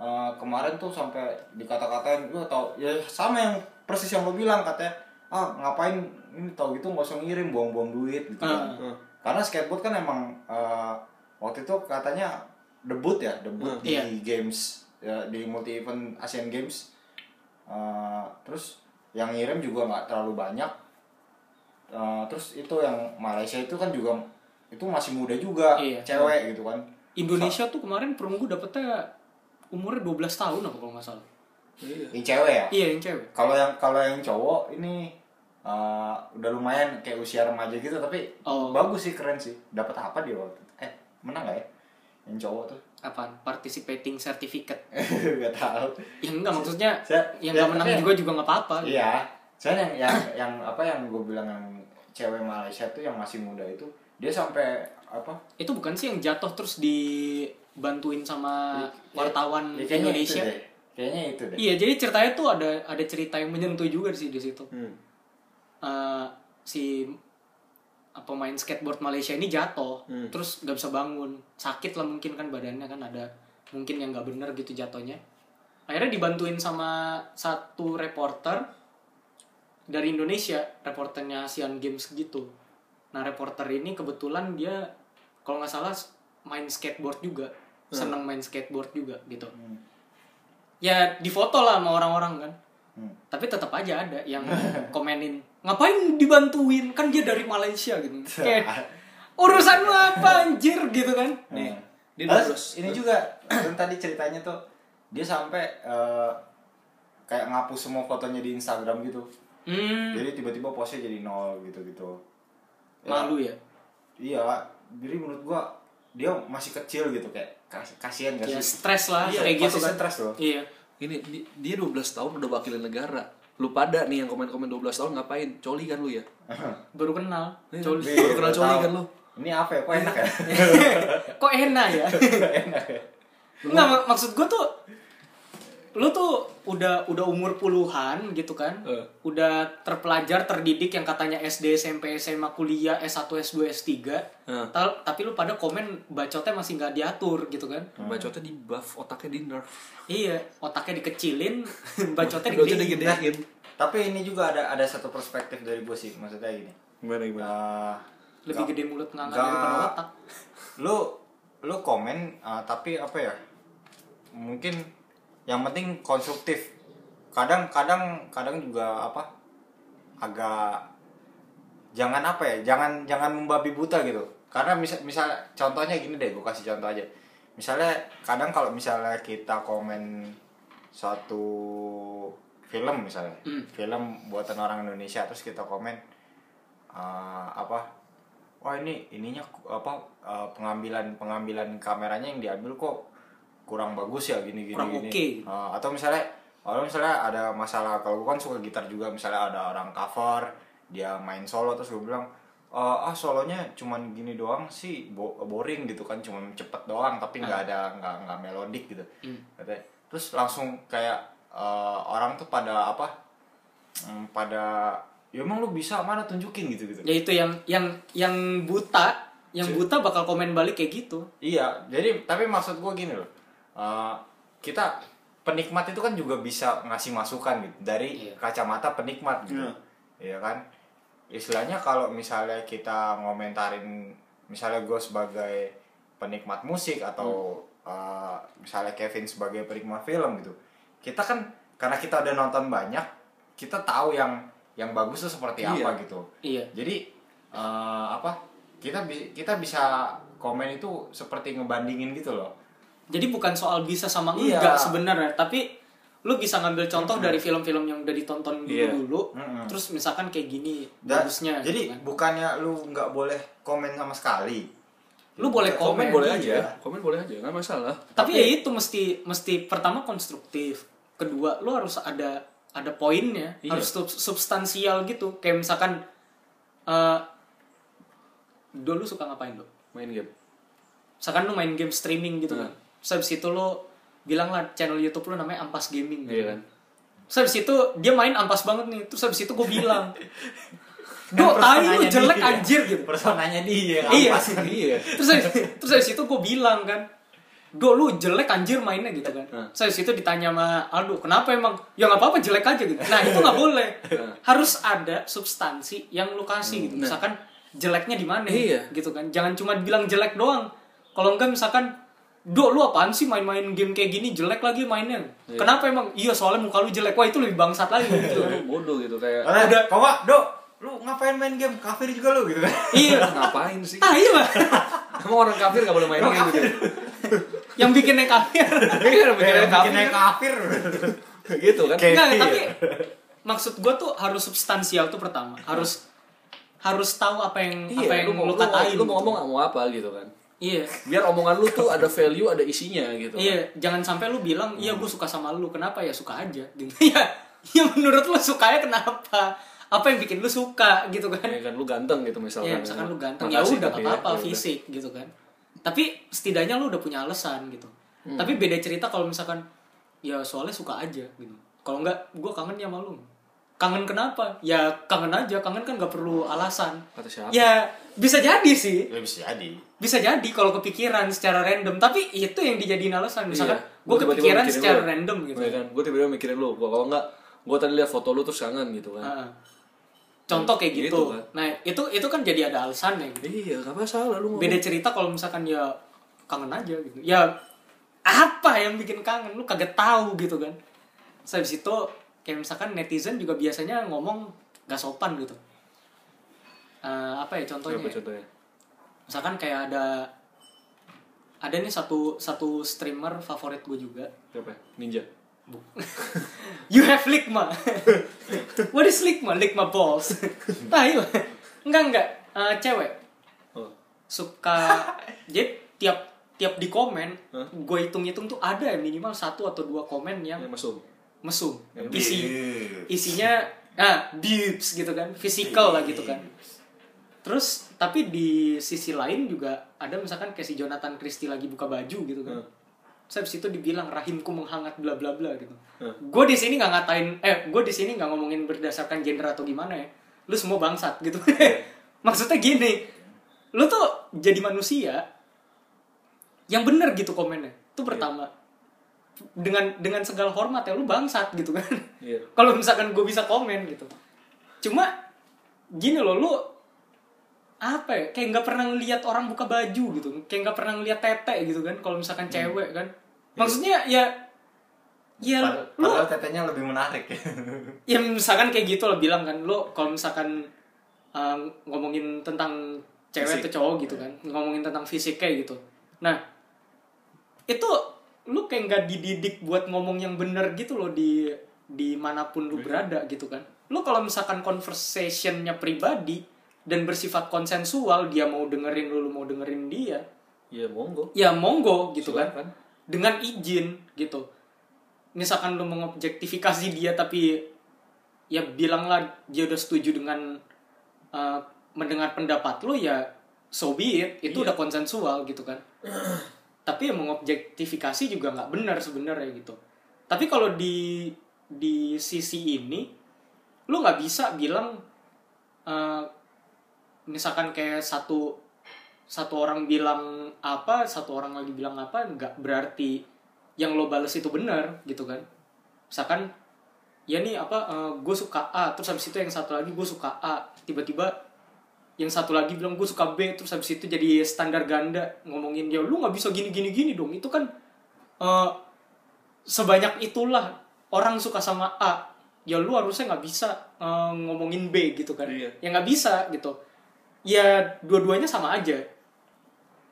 S3: eh, kemarin tuh sampai dikata-katain gue tau ya sama yang persis yang lo bilang katanya ah ngapain ini tau gitu nggak usah ngirim buang-buang duit gitu kan
S2: Hmm.
S3: karena skateboard kan emang eh, waktu itu katanya debut ya debut
S2: Hmm.
S3: di
S1: Iya.
S3: games ya, di multi event Asian Games Eh, terus yang ngirim juga nggak terlalu banyak Uh, terus itu yang Malaysia itu kan juga itu masih muda juga
S1: Iya.
S3: cewek gitu kan
S1: Indonesia tuh kemarin perunggu dapetnya umurnya 12 tahun apa kalau nggak salah.
S2: Iya.
S3: ini cewek ya
S1: Iya, yang cewek.
S3: kalau yang kalau yang cowok ini uh, udah lumayan kayak usia remaja gitu tapi
S1: Oh.
S3: bagus sih keren sih dapat apa dia waktu itu? eh menang gak ya yang cowok tuh
S1: Apaan? Participating certificate.
S3: gak tahu
S1: Ya enggak maksudnya
S3: Saya-
S1: yang
S3: ya,
S1: nggak menang
S3: tapi-
S1: juga juga nggak apa-apa. gitu.
S3: iya saya yang yang yang apa yang gue bilang yang cewek Malaysia tuh yang masih muda itu dia sampai apa
S1: Itu bukan sih yang jatuh terus dibantuin sama wartawan
S3: ya, kayaknya
S1: Indonesia.
S3: Iya, itu deh. kayaknya itu deh
S1: Iya, jadi ceritanya tuh ada ada cerita yang menyentuh juga sih di situ.
S2: Hmm.
S1: eh, si eh, pemain skateboard Malaysia ini jatuh
S2: Hmm.
S1: terus nggak bisa bangun sakit lah mungkin kan badannya kan ada mungkin yang nggak bener gitu jatuhnya akhirnya dibantuin sama satu reporter dari Indonesia reporternya Asian Games gitu nah reporter ini kebetulan dia kalau nggak salah main skateboard juga senang main skateboard juga gitu
S3: Hmm.
S1: ya difoto lah sama orang-orang kan
S3: Hmm.
S1: tapi tetap aja ada yang komenin ngapain dibantuin kan dia dari Malaysia gitu kayak urusan lu apa anjir gitu kan
S2: Nih,
S3: Hmm.
S2: dia
S3: Terus
S2: lurus.
S3: ini juga kan tadi ceritanya tuh dia sampai eh, kayak ngapus semua fotonya di Instagram gitu.
S1: hmm,
S3: Jadi tiba-tiba posnya jadi nol gitu-gitu.
S1: malu ya
S3: Iya, jadi menurut gua dia masih kecil gitu kayak kas- kasihan gak
S1: ya
S3: sih?
S1: stres lah
S3: Iya,
S1: kayak gitu
S3: pasti
S1: kan
S3: stres loh.
S1: iya
S2: Ini di- dia 12 tahun udah wakilin negara. Lu pada nih yang komen-komen 12 tahun ngapain? Coli kan lu ya?
S1: baru kenal
S2: Iya.
S1: Coli.
S2: Iya. Baru kenal coli kan lu?
S3: Ini apa ya? Kok enak ya?
S1: kok enak ya nggak mak- maksud gue tuh lu tuh udah udah umur puluhan gitu kan
S2: Eh.
S1: udah terpelajar terdidik yang katanya SD SMP SMA kuliah S1 S2 S3
S2: Eh.
S1: Ta- tapi lu pada komen bacotnya masih nggak diatur gitu kan
S2: Bacotnya di buff, otaknya di nerf.
S1: iya otaknya dikecilin bacotnya Nah,
S2: Bacotnya
S1: digedein
S2: digedein.
S3: Tapi ini juga ada ada satu perspektif dari gue sih, maksudnya gini.
S2: Gimana gimana?
S3: Eh,
S1: lebih
S3: nggak-
S1: gede mulut nganga
S3: nggak-
S1: daripada otak
S3: Lu lu komen eh, tapi apa ya? Mungkin yang penting konstruktif. Kadang-kadang kadang juga apa? Agak jangan apa ya? Jangan jangan membabi buta gitu. Karena misal misal contohnya gini deh, gue kasih contoh aja. Misalnya kadang kalau misalnya kita komen suatu film misalnya,
S1: Hmm.
S3: film buatan orang Indonesia terus kita komen eh, apa wah ini ininya ku- apa eh, pengambilan pengambilan kameranya yang diambil kok kurang bagus ya gini gini
S1: Kurang
S3: gini.
S1: oke.
S3: Eh, atau misalnya kalau misalnya ada masalah kalau gue kan suka gitar juga misalnya ada orang cover dia main solo terus gue bilang "Eh, ah solonya cuman gini doang sih bo- boring gitu kan cuman cepet doang tapi nggak ada nggak nggak melodik gitu Katanya. terus langsung kayak eh, orang tuh pada apa Hmm, pada ya emang lu bisa mana tunjukin gitu gitu
S1: ya itu yang yang yang buta yang buta bakal komen balik kayak gitu
S3: Iya, jadi tapi maksud gue gini loh, Eh, kita penikmat itu kan juga bisa ngasih masukan gitu dari
S1: Iya.
S3: kacamata penikmat gitu, iya kan? Istilahnya kalau misalnya kita ngomentarin, misalnya gue sebagai penikmat musik atau eh, misalnya Kevin sebagai penikmat film gitu, kita kan karena kita udah nonton banyak, kita tahu yang yang bagus tuh seperti
S2: Iya.
S3: apa gitu.
S1: iya
S3: Jadi eh, apa? Kita bi- kita bisa komen itu seperti ngebandingin gitu loh.
S1: Jadi bukan soal bisa sama
S3: Iya.
S1: enggak sebenarnya, tapi lu bisa ngambil contoh dari film-film yang udah ditonton dulu
S2: Iya.
S1: dulu,
S3: Mm-mm.
S1: terus misalkan kayak gini
S3: Da-
S1: bagusnya.
S3: Jadi
S1: gitu kan.
S3: bukannya lu nggak boleh komen sama sekali.
S1: lu boleh komen,
S2: Komen boleh
S1: iya.
S2: aja, ya. komen boleh aja, nggak masalah.
S1: Tapi, ya itu mesti mesti pertama konstruktif, kedua lu harus ada ada poinnya,
S2: Iya.
S1: harus sub- substansial gitu. Kayak misalkan eh dulu suka ngapain lo?
S2: Main game.
S1: Misalkan lu main game streaming gitu kan. Terus habis itu lu bilang lah channel YouTube lu namanya Ampas Gaming gitu.
S2: Iya kan?
S1: Terus habis itu dia main ampas banget nih. Terus habis itu gue bilang,
S3: Kan
S1: Do, tai lu
S3: personanya
S1: jelek
S3: dia.
S1: anjir gitu.
S3: Personanya dia. kan.
S1: Iya.
S3: ampas.
S2: Iya.
S1: Terus habis, terus habis itu gue bilang kan, Do, lu jelek anjir mainnya gitu kan.
S2: Hah.
S1: Terus habis itu ditanya sama Aldo, kenapa emang? Ya nggak apa-apa jelek aja gitu. Nah itu nggak boleh. Harus ada substansi yang lu kasih gitu. Misalkan jeleknya di mana
S2: Iya.
S1: gitu kan. Jangan cuma bilang jelek doang. Kalau enggak misalkan Do, lu apaan sih main-main game kayak gini jelek lagi mainnya? Kenapa emang? Iya soalnya muka lu jelek. Wah itu lebih bangsat lagi gitu.
S2: Lu bodoh gitu kayak
S3: Karena
S1: Ada.
S3: kok Wak, do lu ngapain main game kafir juga lu gitu kan.
S1: iya.
S2: ngapain sih?
S1: Ah iya Bang.
S2: Emang orang kafir gak boleh main game gitu?
S1: Yang bikinnya kafir.
S2: Iya,
S3: Eh,
S2: bikinnya
S3: bikinnya
S2: kafir.
S3: kafir.
S2: Gitu kan?
S3: Kayak-
S1: Enggak,
S3: Iya.
S1: tapi maksud gue tuh harus substansial tuh pertama. Harus harus tahu apa yang apa
S2: Iya,
S1: yang
S2: lu mau
S1: lu,
S2: lu mau-
S1: katain.
S2: lu mau
S1: gitu.
S2: ngomong mau apa gitu kan?
S1: Iya.
S2: Biar omongan lu tuh ada value, ada isinya gitu. kan.
S1: Iya, jangan sampai lu bilang, "Iya,
S2: Hmm.
S1: gue suka sama lu." Kenapa ya suka aja? Gitu. Ya, ya menurut lu sukanya kenapa? Apa yang bikin lu suka gitu kan?
S2: Ya kan lu ganteng gitu misalkan.
S1: Iya, misalkan lu ganteng ya
S2: Makasih,
S1: udah
S2: tapi
S1: nggak apa-apa
S2: ya udah.
S1: fisik gitu kan. Tapi setidaknya lu udah punya alasan gitu.
S2: Hmm.
S1: Tapi beda cerita kalau misalkan ya soalnya suka aja gitu. Kalau enggak gua kangen ya sama lu. Kangen kenapa? Ya kangen aja, kangen kan nggak perlu alasan.
S2: Kata siapa?
S1: Ya bisa jadi sih.
S3: Ya bisa jadi.
S1: Bisa jadi kalau kepikiran secara random, tapi itu yang dijadiin alasan. Misalkan gua
S2: Iya. Gua tiba-tiba
S1: kepikiran
S2: mikirin
S1: secara
S2: lu.
S1: random gitu.
S2: Iya kan? Gue tiba-tiba mikirin lu. Gua kalau enggak gue tadi lihat foto lu terus kangen gitu kan.
S1: Heeh. Contoh kayak gitu.
S2: Gitu kan.
S1: Nah, itu itu kan jadi ada alasan ya.
S2: Iya, gak masalah lu ngomong.
S1: beda cerita kalau misalkan ya kangen aja gitu ya apa yang bikin kangen lu kagak tahu gitu kan saya itu kayak misalkan netizen juga biasanya ngomong gak sopan gitu Eh, apa ya contohnya
S2: Apa
S1: ya?
S2: contohnya?
S1: misalkan kayak ada ada nih satu satu streamer favorit gue juga
S2: Apa? Ninja.
S1: you have ligma what is ligma ligma balls tahu enggak enggak Eh, cewek
S2: Oh.
S1: suka jadi tiap tiap di komen gue hitung-hitung tuh ada ya minimal satu atau dua komen yang
S2: Yang masuk.
S1: mesum
S2: Yang
S1: isi
S3: Iya.
S1: isinya ah dupes gitu kan physical lah gitu kan terus tapi di sisi lain juga ada misalkan kayak si Jonathan Christie lagi buka baju gitu kan
S2: Hmm.
S1: saya habis itu dibilang rahimku menghangat bla bla bla gitu
S2: Hah.
S1: gue di sini nggak ngatain eh gue di sini nggak ngomongin berdasarkan gender atau gimana ya lu semua bangsat gitu
S2: Hmm.
S1: maksudnya gini lu tuh jadi manusia yang bener gitu komennya itu
S2: Iya.
S1: pertama dengan dengan segala hormat ya lu bangsat gitu kan
S2: Iya.
S1: kalau misalkan gue bisa komen gitu cuma gini loh lu apa ya kayak nggak pernah ngelihat orang buka baju gitu kayak nggak pernah ngelihat tete gitu kan kalau misalkan cewek kan maksudnya ya ya
S3: Pad-
S1: lu
S3: padahal tetenya lebih menarik ya.
S1: ya misalkan kayak gitu lo bilang kan lo kalau misalkan uh, ngomongin tentang cewek atau
S2: Fisik.
S1: cowok gitu kan ngomongin tentang fisik kayak gitu nah itu lu kayak nggak dididik buat ngomong yang bener gitu loh di dimanapun lu berada gitu kan lu kalau misalkan conversationnya pribadi dan bersifat konsensual dia mau dengerin lu lu mau dengerin dia
S2: Iya, monggo.
S1: ya monggo gitu kan
S2: Silakan.
S1: dengan izin gitu misalkan lu mengobjektifikasi dia tapi ya bilanglah dia udah setuju dengan uh, mendengar pendapat lu ya so be it itu udah konsensual gitu kan tapi ya mengobjektifikasi juga nggak benar sebenarnya gitu tapi kalau di di sisi ini lu nggak bisa bilang uh, misalkan kayak satu satu orang bilang apa satu orang lagi bilang apa nggak berarti yang lo bales itu benar gitu kan misalkan ya nih apa gue suka A terus habis itu yang satu lagi gue suka A tiba-tiba yang satu lagi bilang gue suka B terus habis itu jadi standar ganda ngomongin ya lu nggak bisa gini gini gini dong itu kan eh, sebanyak itulah orang suka sama A ya lu harusnya nggak bisa eh, ngomongin B gitu kan
S2: Iya.
S1: ya nggak bisa gitu ya dua-duanya sama aja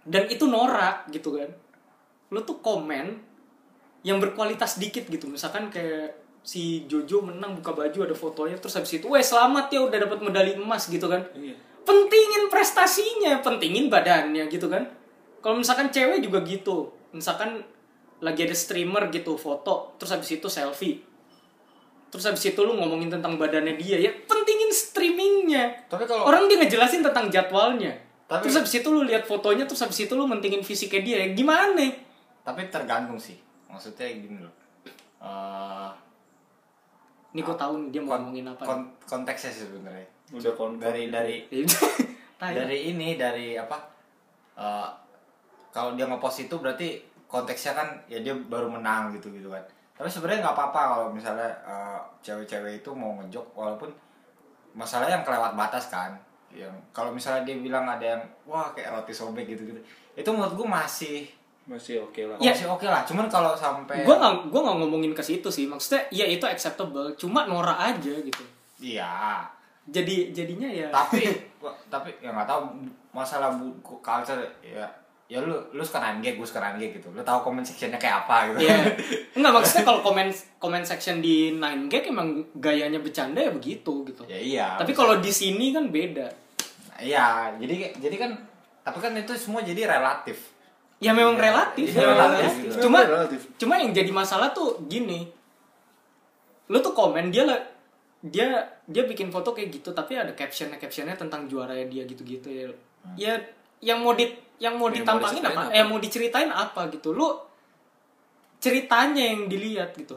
S1: dan itu norak gitu kan lu tuh komen yang berkualitas dikit gitu misalkan kayak si Jojo menang buka baju ada fotonya terus habis itu weh selamat ya udah dapat medali emas gitu kan
S2: Iya.
S1: pentingin prestasinya, pentingin badannya gitu kan. Kalau misalkan cewek juga gitu, misalkan lagi ada streamer gitu foto, terus habis itu selfie. Terus habis itu lu ngomongin tentang badannya dia ya, pentingin streamingnya.
S3: tapi kalau
S1: Orang dia ngejelasin tentang jadwalnya.
S3: Tapi-
S1: terus habis itu lu lihat fotonya, terus habis itu lu mentingin fisiknya dia ya, gimana?
S3: tapi tergantung sih maksudnya gini loh Eh,
S1: Nih gue tahu nih dia mau
S3: kon-
S1: ngomongin apa.
S3: kon- konteksnya sih sebenarnya
S2: Udah konfirm.
S3: dari dari
S1: Tai.
S3: dari ini dari apa eh, kalau dia ngepost itu berarti konteksnya kan ya dia baru menang gitu gitu kan tapi sebenarnya nggak apa-apa kalau misalnya eh, cewek-cewek itu mau ngejok walaupun masalah yang kelewat batas kan yang kalau misalnya dia bilang ada yang wah kayak roti sobek gitu gitu itu menurut gue masih
S2: Masih oke lah.
S1: Ya.
S3: masih oke lah cuman kalau sampai
S1: Gue gak, gua nggak ngomongin ke situ sih, maksudnya ya itu acceptable, cuma norak aja gitu.
S3: iya
S1: Jadi jadinya ya.
S3: tapi gua- tapi ya nggak tahu masalah bu ku- culture ya ya lu lu sekarang gay gue sekarang gay gitu lu tahu comment sectionnya kayak apa gitu
S1: Iya. Enggak maksudnya kalau komen komen section di 9 gag emang gayanya bercanda ya begitu gitu.
S3: ya iya
S1: Tapi kalau di sini kan beda.
S3: Nah, iya jadi jadi kan tapi kan itu semua jadi relatif
S1: Ya memang
S3: Iya,
S1: relatif,
S3: iya,
S1: ya, memang
S3: relatif,
S1: relatif.
S3: gitu.
S1: Cuma
S2: Relatif.
S1: cuma yang jadi masalah tuh gini. Lu tuh komen dia lah dia dia bikin foto kayak gitu tapi ada captionnya captionnya tentang juaranya dia gitu-gitu ya.
S3: Hmm.
S1: Ya yang mau di yang mau
S2: Yang mau
S1: ditampangin
S2: diceritain
S1: apa?
S2: apa?
S1: Eh mau diceritain apa gitu. Lu ceritanya yang dilihat gitu.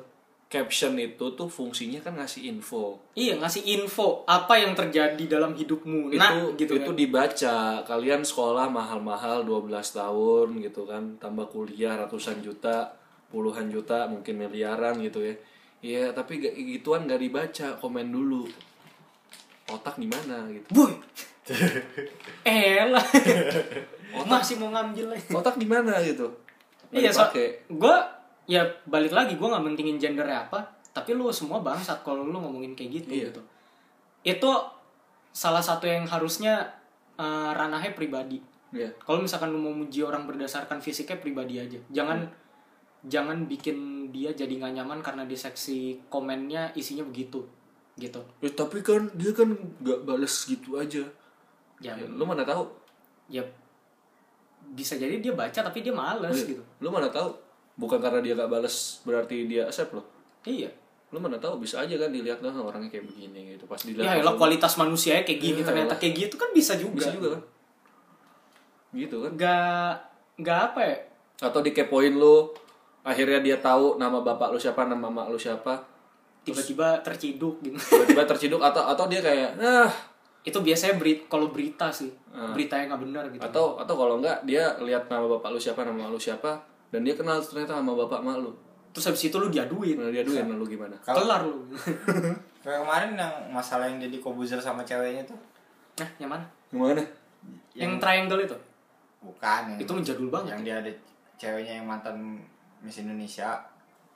S2: Caption itu tuh fungsinya kan ngasih info.
S1: Iya ngasih info apa yang terjadi dalam hidupmu. Nah,
S2: itu
S1: gitu
S2: itu
S1: kan.
S2: dibaca kalian sekolah mahal-mahal 12 tahun gitu kan tambah kuliah ratusan juta puluhan juta mungkin miliaran gitu ya iya tapi ga- gituan gak dibaca komen dulu otak gimana gitu
S1: Boy. Elah. Masih mau ngambil lagi.
S2: otak gimana gitu Nggak
S1: Iya, so,
S2: dipakai.
S1: gue ya balik lagi gue nggak mentingin gendernya apa, tapi lu semua bangsat kalau lu ngomongin kayak gitu
S2: Iya.
S1: gitu. Itu salah satu yang harusnya eh, ranahnya pribadi.
S2: Iya.
S1: Kalau misalkan lu mau muji orang berdasarkan fisiknya pribadi aja, jangan jangan bikin dia jadi nggak nyaman karena di seksi komennya isinya begitu gitu.
S2: Ya, tapi kan dia kan gak bales gitu aja
S1: Ya,
S2: Ya, lu mana tahu
S1: ya bisa jadi dia baca tapi dia males
S2: Iya.
S1: gitu
S2: lu mana tahu bukan karena dia gak bales berarti dia accept loh
S1: iya
S2: lu mana tahu bisa aja kan dilihat lah orangnya kayak begini gitu pas dilihat
S1: ya elah
S2: langsung-
S1: kualitas manusianya kayak gini
S2: Iya,
S1: ternyata
S2: elah.
S1: kayak gitu kan bisa juga
S2: bisa juga kan gitu kan
S1: nggak nggak apa ya
S2: atau dikepoin lu akhirnya dia tahu nama bapak lu siapa nama mama lu siapa
S1: tiba-tiba terciduk gitu
S2: tiba-tiba terciduk atau atau dia kayak ah
S1: itu biasanya beri kalau berita sih berita yang nggak benar gitu
S2: atau atau kalau enggak dia lihat nama bapak lu siapa nama lu siapa dan dia kenal ternyata sama bapak mak lu
S1: terus habis itu lu diaduin
S2: nah, dia duit sama lu gimana
S3: Kalau-
S1: kelar lu
S3: Kayak kemarin yang masalah yang jadi kobuzer sama ceweknya tuh
S1: nah yang mana
S2: gimana
S1: yang, triangle itu
S3: bukan yang,
S1: itu menjadul banget
S3: yang dia ada ceweknya yang mantan Miss Indonesia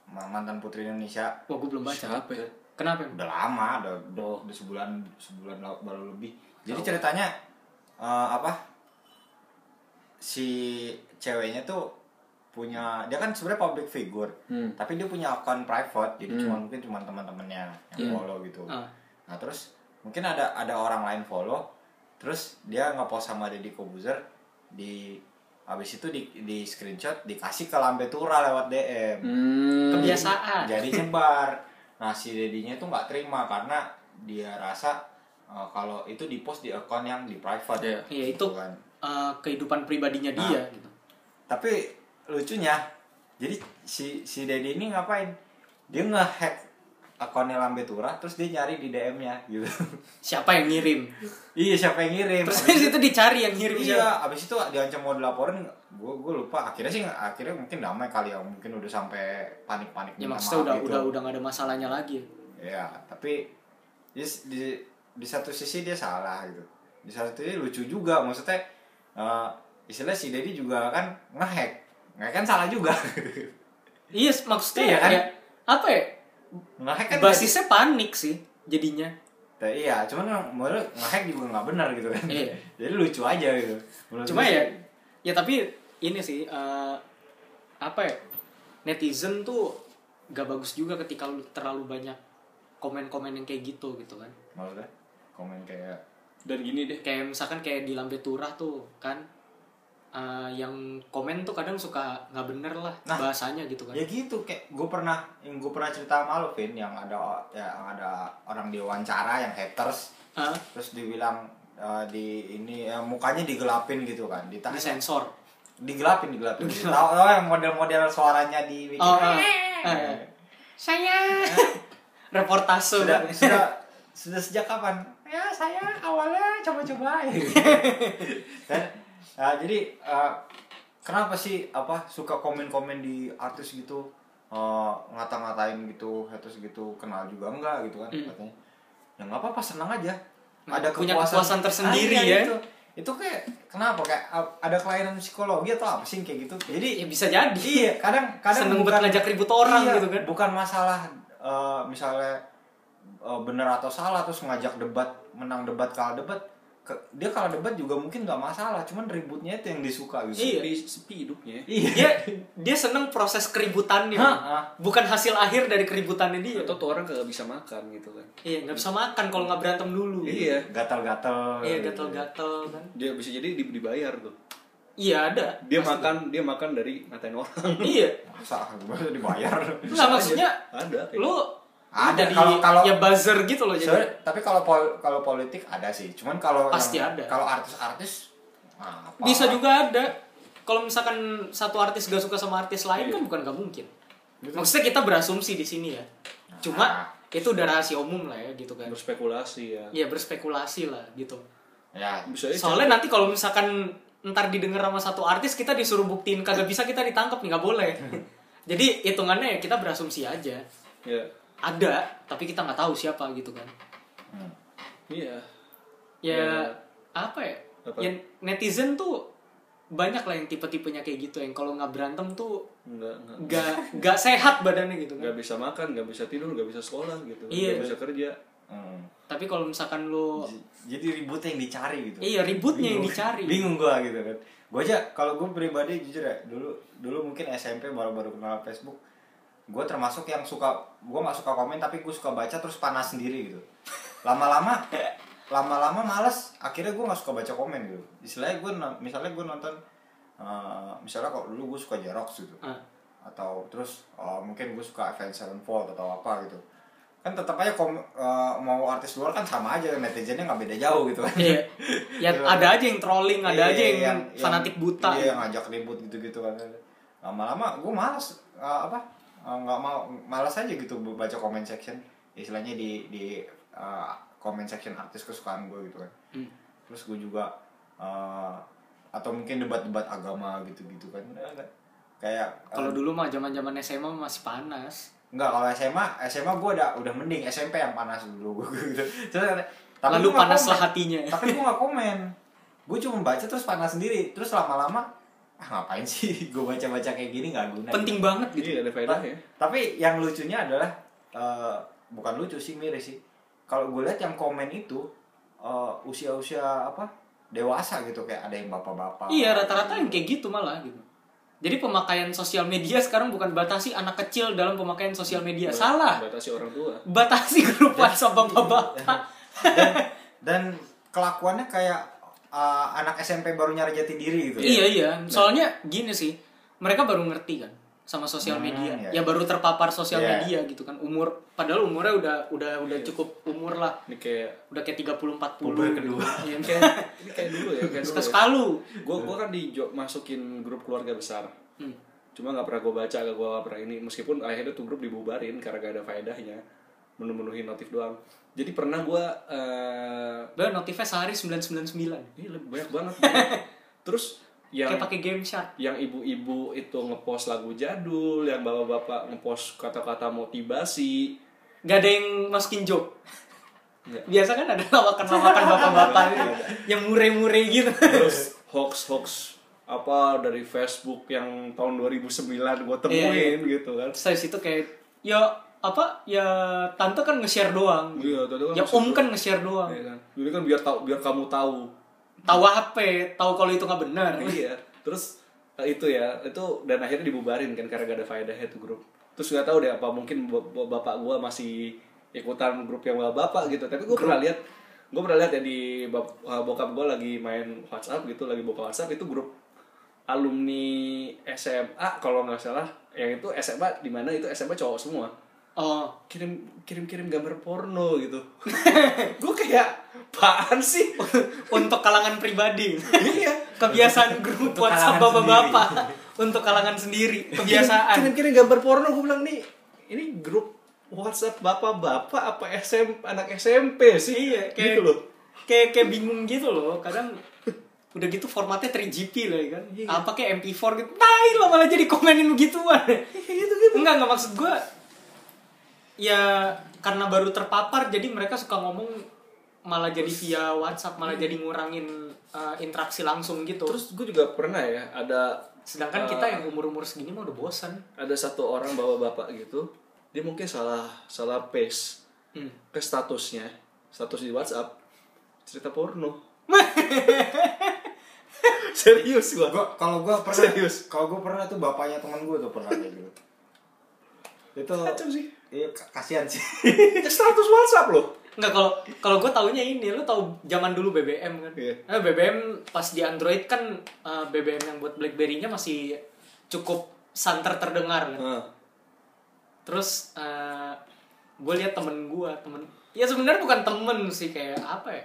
S3: ma- mantan putri Indonesia
S1: wah gue belum baca
S2: siapa ya
S1: kenapa emang?
S3: kan udah lama udah udah, udah sebulan sebulan la- baru lebih jadi ceritanya eh, apa si ceweknya tuh punya dia kan sebenarnya public figure
S2: Hmm.
S3: tapi dia punya akun private jadi cuma mungkin cuma teman-temannya yang follow gitu
S1: Ah.
S3: nah terus mungkin ada ada orang lain follow terus dia nge-post sama Deddy Kobuzer di habis itu di, di screenshot dikasih ke Lambe Tura lewat DM
S2: hmm.
S1: kebiasaan
S3: jadi nyebar nah si dedinya itu nggak terima karena dia rasa uh, kalau itu di post di akun yang di private
S2: Iya.
S1: Iya, itu.
S3: Gitu kan.
S1: Eh, kehidupan pribadinya
S3: Nah.
S1: dia gitu
S3: tapi lucunya jadi si si Dedi ini ngapain dia ngehack akunnya Lambe Tura terus dia nyari di DM-nya gitu
S1: siapa yang ngirim
S3: iya siapa yang ngirim
S1: terus
S3: Abis
S1: habis itu dicari yang ngirim siapa.
S3: iya abis itu diancam mau dilaporin gue gue lupa akhirnya sih akhirnya mungkin damai kali ya mungkin udah sampai panik-panik
S1: ya
S3: minta
S1: maksudnya
S3: maaf
S1: udah
S3: gitu.
S1: udah udah gak ada masalahnya lagi
S3: Ya, tapi di, di, di satu sisi dia salah gitu. Di satu sisi lucu juga, maksudnya eh istilah si Dedi juga kan ngehack, ngehack kan salah juga.
S1: iya maksudnya
S3: Iya, kan?
S1: ya apa ya
S3: ngehack kan
S1: basisnya panik sih jadinya
S3: Nah, iya, cuman kan menurut ngehack juga nggak benar gitu kan.
S1: Iya.
S3: Jadi lucu aja gitu. Menurut
S1: cuma
S3: gue
S1: ya
S3: sih,
S1: ya tapi ini sih eh, apa ya netizen tuh gak bagus juga ketika lu terlalu banyak komen-komen yang kayak gitu gitu kan
S3: maksudnya komen kayak
S2: dan gini deh
S1: kayak misalkan kayak di lambe turah tuh kan eh, yang komen tuh kadang suka nggak bener lah
S3: Nah.
S1: bahasanya gitu kan
S3: ya gitu kayak gue pernah yang gue pernah cerita sama lo, Vin, yang ada ya, yang ada orang diwawancara yang haters
S1: Hah?
S3: terus dibilang eh, di ini eh, mukanya digelapin gitu kan ditanya
S1: disensor
S3: digelapin digelapin tahu tahu yang model-model suaranya di bikin
S1: oh, eh,
S3: Iya.
S1: eh, saya reportase
S3: sudah
S1: Bang.
S3: sudah sudah sejak kapan ya saya awalnya coba-coba dan nah, jadi eh, kenapa sih apa suka komen-komen di artis gitu eh, ngata-ngatain gitu haters gitu kenal juga enggak gitu kan katanya ya nggak apa-apa senang aja ada
S1: Hmm. Punya kepuasan
S3: kepuasan,
S1: tersendiri
S3: iya,
S1: ya.
S3: itu, itu kayak kenapa kayak a- ada kelainan psikologi atau apa sih kayak gitu jadi
S1: ya bisa jadi
S3: iya kadang kadang iya,
S1: Seneng buat ngajak ribut orang gitu kan.
S3: bukan masalah eh, misalnya eh, bener atau salah terus ngajak debat menang debat kalah debat Ke- dia kalah debat juga mungkin nggak masalah cuman ributnya itu yang disuka gitu
S1: Iya.
S2: sepi sepi hidupnya ya.
S1: dia dia seneng proses keributannya
S3: Iya. Hah?
S1: bukan hasil akhir dari keributannya dia
S2: atau tuh orang kagak bisa makan gitu kan
S1: iya nggak bisa makan kalau nggak berantem dulu
S2: Iya.
S3: gatal-gatal
S1: iya
S3: gitu.
S1: gatel-gatel kan
S2: dia bisa jadi di- dibayar tuh
S1: iya ada
S2: dia makan dia makan dari ngatain orang
S1: iya
S3: masa baru dibayar
S1: nggak maksudnya
S2: ada kayak
S1: lu
S3: Ada,
S1: jadi
S3: kalau- kalau-
S1: ya buzzer gitu loh
S3: Sebenarnya,
S1: jadi
S3: tapi kalau pol- kalau politik ada sih cuman kalau
S1: Pasti
S3: yang-
S1: ada.
S3: kalau artis-artis ah, apa?
S1: bisa juga ada kalau misalkan satu artis gak suka sama artis lain kan bukan gak mungkin maksudnya kita berasumsi di sini ya
S3: Nah.
S1: cuma itu udah rahasia umum lah ya gitu kan
S2: Iya. berspekulasi ya
S1: ya berspekulasi lah gitu
S3: ya
S2: bisa aja
S1: soalnya nanti kalau misalkan ntar didengar sama satu artis kita disuruh buktiin kagak bisa kita ditangkap nih nggak boleh jadi hitungannya ya kita berasumsi aja
S2: ya
S1: ada tapi kita nggak tahu siapa gitu kan
S3: Hmm.
S2: iya
S1: ya
S2: Ya.
S1: apa ya
S2: Apa?
S1: ya netizen tuh banyak lah yang tipe-tipenya kayak gitu yang kalau nggak berantem tuh
S2: nggak nggak
S1: nggak nggak sehat badannya gitu kan
S2: nggak bisa makan nggak bisa tidur nggak bisa sekolah gitu
S1: Iya.
S2: nggak bisa kerja
S3: Hmm.
S1: tapi kalau misalkan lo
S3: J- jadi ributnya yang dicari gitu
S1: Iya, ributnya yang dicari.
S3: bingung gua gitu kan gua aja kalau gua pribadi jujur ya dulu dulu mungkin SMP baru-baru kenal Facebook gua termasuk yang suka gua nggak suka komen tapi gua suka baca terus panas sendiri gitu lama-lama lama-lama males akhirnya gua nggak suka baca komen gitu istilahnya gua no- misalnya gua nonton eh, misalnya kalau dulu gua suka Jerox gitu
S1: Ah.
S3: atau terus eh, mungkin gue suka Avenged Sevenfold atau apa gitu kan tetap aja kom- eh, mau artis luar kan sama aja netizennya nggak beda jauh gitu kan
S1: Iya. ya
S3: Iya.
S1: ada aja yang trolling ada
S3: Iya,
S1: aja yang,
S3: yang-
S1: fanatik buta
S3: iya yang ngajak ribut gitu gitu kan lama-lama gue malas eh, apa eh, nggak mau malas aja gitu baca comment section istilahnya di di eh, comment section artis kesukaan gue gitu kan
S1: Hmm.
S3: terus gue juga eh, atau mungkin debat-debat agama gitu-gitu kan Eh, kayak eh,
S1: Kalau dulu mah zaman-zaman SMA masih panas.
S3: Enggak, kalau SMA, SMA gue udah udah mending SMP yang panas dulu gue gitu. Terus ada- tapi
S1: Lalu
S3: gua nggak
S1: panaslah
S3: komen.
S1: hatinya.
S3: Tapi gue gak komen. Gue cuma baca terus panas sendiri. Terus lama-lama, ah ngapain sih gue baca-baca kayak gini nggak guna.
S1: Penting banget gitu.
S2: Iya, ada
S3: Ta-
S2: faedahnya.
S3: Tapi yang lucunya adalah eh, bukan lucu sih miris sih. Kalau gue lihat yang komen itu eh, usia-usia apa dewasa gitu kayak ada yang bapak-bapak.
S1: Iya, rata-rata yang kayak gitu malah gitu. Jadi pemakaian sosial media sekarang bukan batasi anak kecil dalam pemakaian sosial media.
S3: Iya.
S1: Salah.
S2: Batasi orang tua.
S1: Batasi grup WhatsApp bapak-bapak.
S3: dan, dan kelakuannya kayak uh, anak SMP baru nyari jati diri gitu.
S1: Iya, iya. Soalnya gini sih, mereka baru ngerti kan sama sosial
S3: Hmm,
S1: media.
S3: iya.
S1: Ya baru terpapar sosial
S3: Iya.
S1: media gitu kan. Umur padahal umurnya udah udah udah cukup umur lah.
S2: Ini kayak
S1: Udah kayak 30 40.
S3: Puber kedua.
S1: Iya,
S2: ini
S1: kayak
S2: kayak ini kayak dulu ya, kayak dulu. Ya.
S1: sekalu.
S2: Gue gua kan di jo- masukin grup keluarga besar.
S1: Hmm.
S2: Cuma nggak pernah gue baca, gak gue pernah ini. Meskipun akhirnya tuh grup dibubarin karena gak ada faedahnya. Menuh-menuhi notif doang. Jadi pernah gue eh
S1: Bah, notifnya sehari 999.
S2: ini lebih banyak banget. Terus yang
S1: Kayak pakai game chat.
S2: yang ibu-ibu itu ngepost lagu jadul, yang bapak-bapak ngepost kata-kata motivasi.
S1: Gak ada yang masukin joke.
S2: Nggak.
S1: Biasa kan ada lawakan-lawakan bapak-bapak gitu, yang mure-mure gitu.
S2: Terus hoax-hoax apa dari Facebook yang tahun 2009 gue temuin
S1: Iya,
S2: gitu kan.
S1: Terus dari situ kayak ya apa ya tante kan nge-share doang.
S2: Iya, tante kan
S1: ya
S2: nge-share
S1: om kan nge-share doang.
S2: Iya kan? Jadi kan biar tahu biar kamu tahu.
S1: Tahu HP, tahu kalau itu nggak benar.
S2: iya. Terus eh, itu ya, itu dan akhirnya dibubarin kan karena gak ada faedahnya tuh grup. Terus nggak tahu deh apa mungkin b- b- bapak gua masih ikutan grup yang bapak gitu. Tapi gua pernah lihat gua pernah lihat ya di bap- eh, bokap gua lagi main WhatsApp gitu, lagi buka WhatsApp itu grup alumni SMA kalau nggak salah yang itu SMA di mana itu SMA cowok semua
S1: Oh,
S2: kirim kirim kirim gambar porno gitu gue kayak apaan sih
S1: untuk kalangan pribadi.
S2: iya
S1: Kebiasaan grup
S3: Untuk
S1: WhatsApp
S3: kalangan
S1: bapak-bapak untuk kalangan sendiri,
S2: Iya.
S1: kebiasaan.
S2: kirim-kirim gambar porno gue bilang nih ini grup WhatsApp bapak-bapak apa SM anak SMP sih
S1: Iya, kayak
S2: gitu loh
S1: Kayak kayak bingung gitu loh, kadang udah gitu formatnya 3GP lah ya kan.
S2: Iya.
S1: Apa kayak MP4 gitu. Tai lo malah jadi komenin begituan.
S2: gitu gitu
S1: Enggak, enggak maksud gua ya karena baru terpapar jadi mereka suka ngomong malah jadi via WhatsApp, malah
S2: Iya.
S1: jadi ngurangin uh, interaksi langsung gitu. Terus
S2: terus gue juga pernah ya ada
S1: sedangkan kita yang umur-umur segini mah udah bosan.
S2: ada satu orang bapak-bapak gitu dia mungkin salah salah paste
S1: Hmm.
S2: ke statusnya status di WhatsApp cerita porno serius gua
S3: Gua kalau gue pernah
S2: Serius?
S3: kalau gue pernah tuh bapaknya teman gue tuh pernah kayak gitu. Itu
S2: Kacau sih.
S3: Iya, k- kasihan sih.
S2: status WhatsApp loh
S1: Enggak kalau kalau gue taunya ini, lu tahu zaman dulu BBM kan?
S2: Iya.
S1: Nah, BBM pas di Android kan uh, BBM yang buat BlackBerry-nya masih cukup santer terdengar kan. Terus gue lihat temen gue, temen ya sebenarnya bukan temen sih kayak apa ya?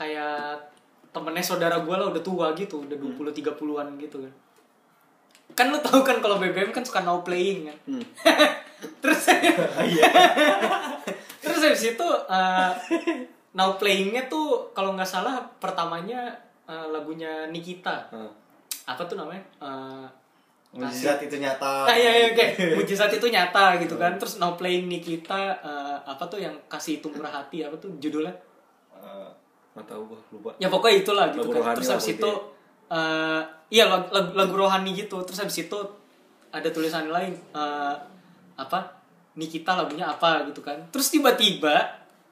S1: Kayak temennya saudara gue lah udah tua gitu, udah
S2: Hmm.
S1: 20 30-an gitu kan. Kan lu tahu kan kalau BBM kan suka now playing kan.
S2: Hmm. Iya.
S1: Terus Terus habis itu eh, now playingnya tuh kalau nggak salah pertamanya eh, lagunya Nikita.
S2: Hmm.
S1: Apa tuh namanya? Eh,
S3: Mujizat itu nyata.
S1: Nah, iya, iya, kayak mujizat itu nyata gitu kan. Terus now playing Nikita eh, apa tuh yang kasih itu murah hati apa tuh judulnya?
S3: Eh,
S2: nggak tahu gua lupa
S1: Ya pokoknya itulah gitu
S2: Lagu
S1: kan.
S2: rohani ya?
S1: Terus
S2: lah
S1: habis
S2: pokoknya.
S1: itu eh, iya lag- lag- lagu, rohani gitu. Terus habis itu ada tulisan lain eh, apa? Nikita lagunya apa gitu kan. Terus tiba-tiba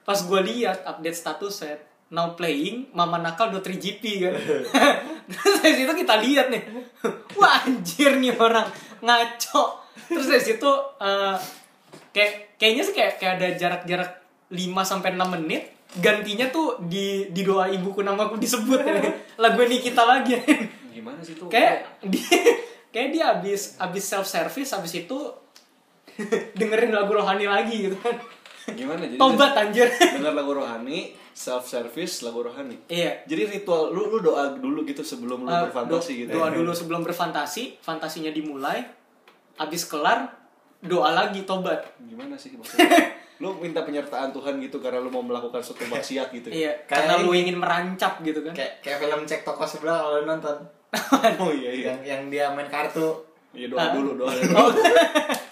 S1: pas gue lihat update status set now playing Mama Nakal 23GP kan. Terus dari situ kita lihat nih. Wah anjir nih orang ngaco. Terus dari situ eh, kayak kayaknya sih kayak kayak ada jarak-jarak 5 sampai 6 menit gantinya tuh di di doa ibuku namaku disebut lagu Nikita lagi
S2: gimana sih tuh
S1: kayak dia kayak dia abis abis self service abis itu dengerin lagu rohani lagi gitu kan
S2: Gimana jadi?
S1: Tobat, anjir.
S2: Dengar lagu rohani, self service lagu rohani.
S1: Iya.
S2: Jadi ritual lu lu doa dulu gitu sebelum lu
S1: Eh, do-
S2: berfantasi gitu.
S1: Doa dulu sebelum berfantasi, fantasinya dimulai, abis kelar, doa lagi, tobat.
S2: Gimana sih maksudnya? lu minta penyertaan Tuhan gitu karena lu mau melakukan suatu maksiat gitu.
S1: Iya,
S3: Kayak
S1: karena
S3: ini.
S1: lu ingin merancap gitu kan.
S3: kayak kayak film cek toko sebelah kalau lu nonton
S2: Oh iya iya.
S3: yang yang dia main kartu
S2: Iya doa
S1: Ah.
S2: dulu doa.
S1: Oh,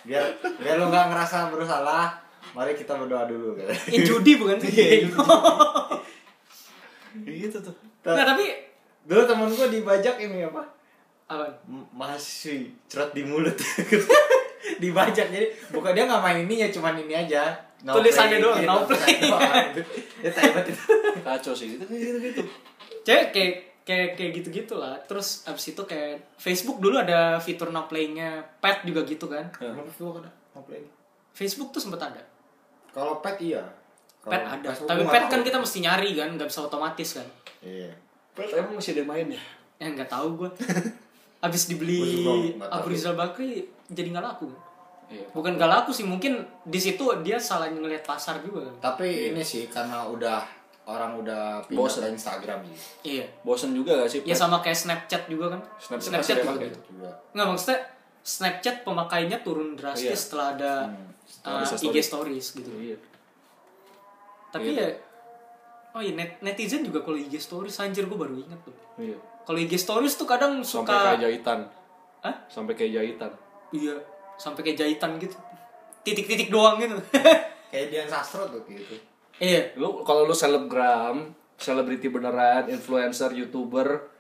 S3: biar biar lu nggak ngerasa bersalah mari kita berdoa dulu gitu.
S1: injudi bukan sih?
S2: gitu tuh.
S1: nah, tapi
S3: dulu temen gue dibajak ini apa
S1: apa?
S3: M- mahasiswi cerot di mulut dibajak jadi bukan dia nggak main ininya cuman ini aja
S1: Tulisannya doang,
S3: gitu,
S1: no
S3: tulisannya
S1: play.
S3: doang. dia hebat itu
S2: Kacau sih gitu gitu gitu.
S1: Cewek kayak kayak kayak gitu-gitu lah. Terus abis itu kayak Facebook dulu ada fitur no playnya pet juga gitu kan.
S2: Nah,
S3: no play
S1: Facebook tuh sempet ada.
S3: kalau pet iya
S1: Pet
S3: Kalau
S1: ada.
S3: Facebook
S1: Tapi
S3: gua nggak
S1: pet
S3: tahu.
S1: kan kita mesti nyari kan, nggak bisa otomatis kan.
S3: iya
S2: Pert emang masih ada yang main ya?
S1: Ya nggak tahu gue. Abis
S3: Gua
S1: dibeli
S3: juga nggak tahu.
S1: Abu Rizal Bakri jadi nggak laku.
S2: Iya.
S1: Bukan nggak laku sih, mungkin di situ dia salah ngelihat pasar juga kan.
S3: tapi ini sih karena udah orang udah pindah
S2: Bosen.
S3: ke Instagram sih
S1: Iya.
S2: Bosen juga gak sih?
S1: Ya sama kayak Snapchat juga kan.
S2: Snapchat masih
S1: Snapchat
S2: ada
S1: juga
S2: pakai.
S1: gitu.
S3: juga
S1: Nggak maksudnya Snapchat pemakainya turun drastis
S2: Iya.
S1: setelah ada
S3: Hmm.
S1: uh,
S2: Stories, stories.
S1: IG stories gitu.
S2: Iya.
S1: Tapi
S2: Iya.
S1: ya Oh iya net- netizen juga kalau IG stories anjir gue baru inget tuh.
S2: Iya.
S1: Kalau IG stories tuh kadang suka
S2: Sampai kayak jahitan.
S1: Hah?
S2: Sampai kayak jahitan.
S1: Iya, sampai kayak jahitan gitu. Titik-titik doang gitu.
S3: kayak Dian Sastro tuh gitu
S1: iya.
S2: Lu kalau lu selebgram, selebriti beneran, influencer, youtuber,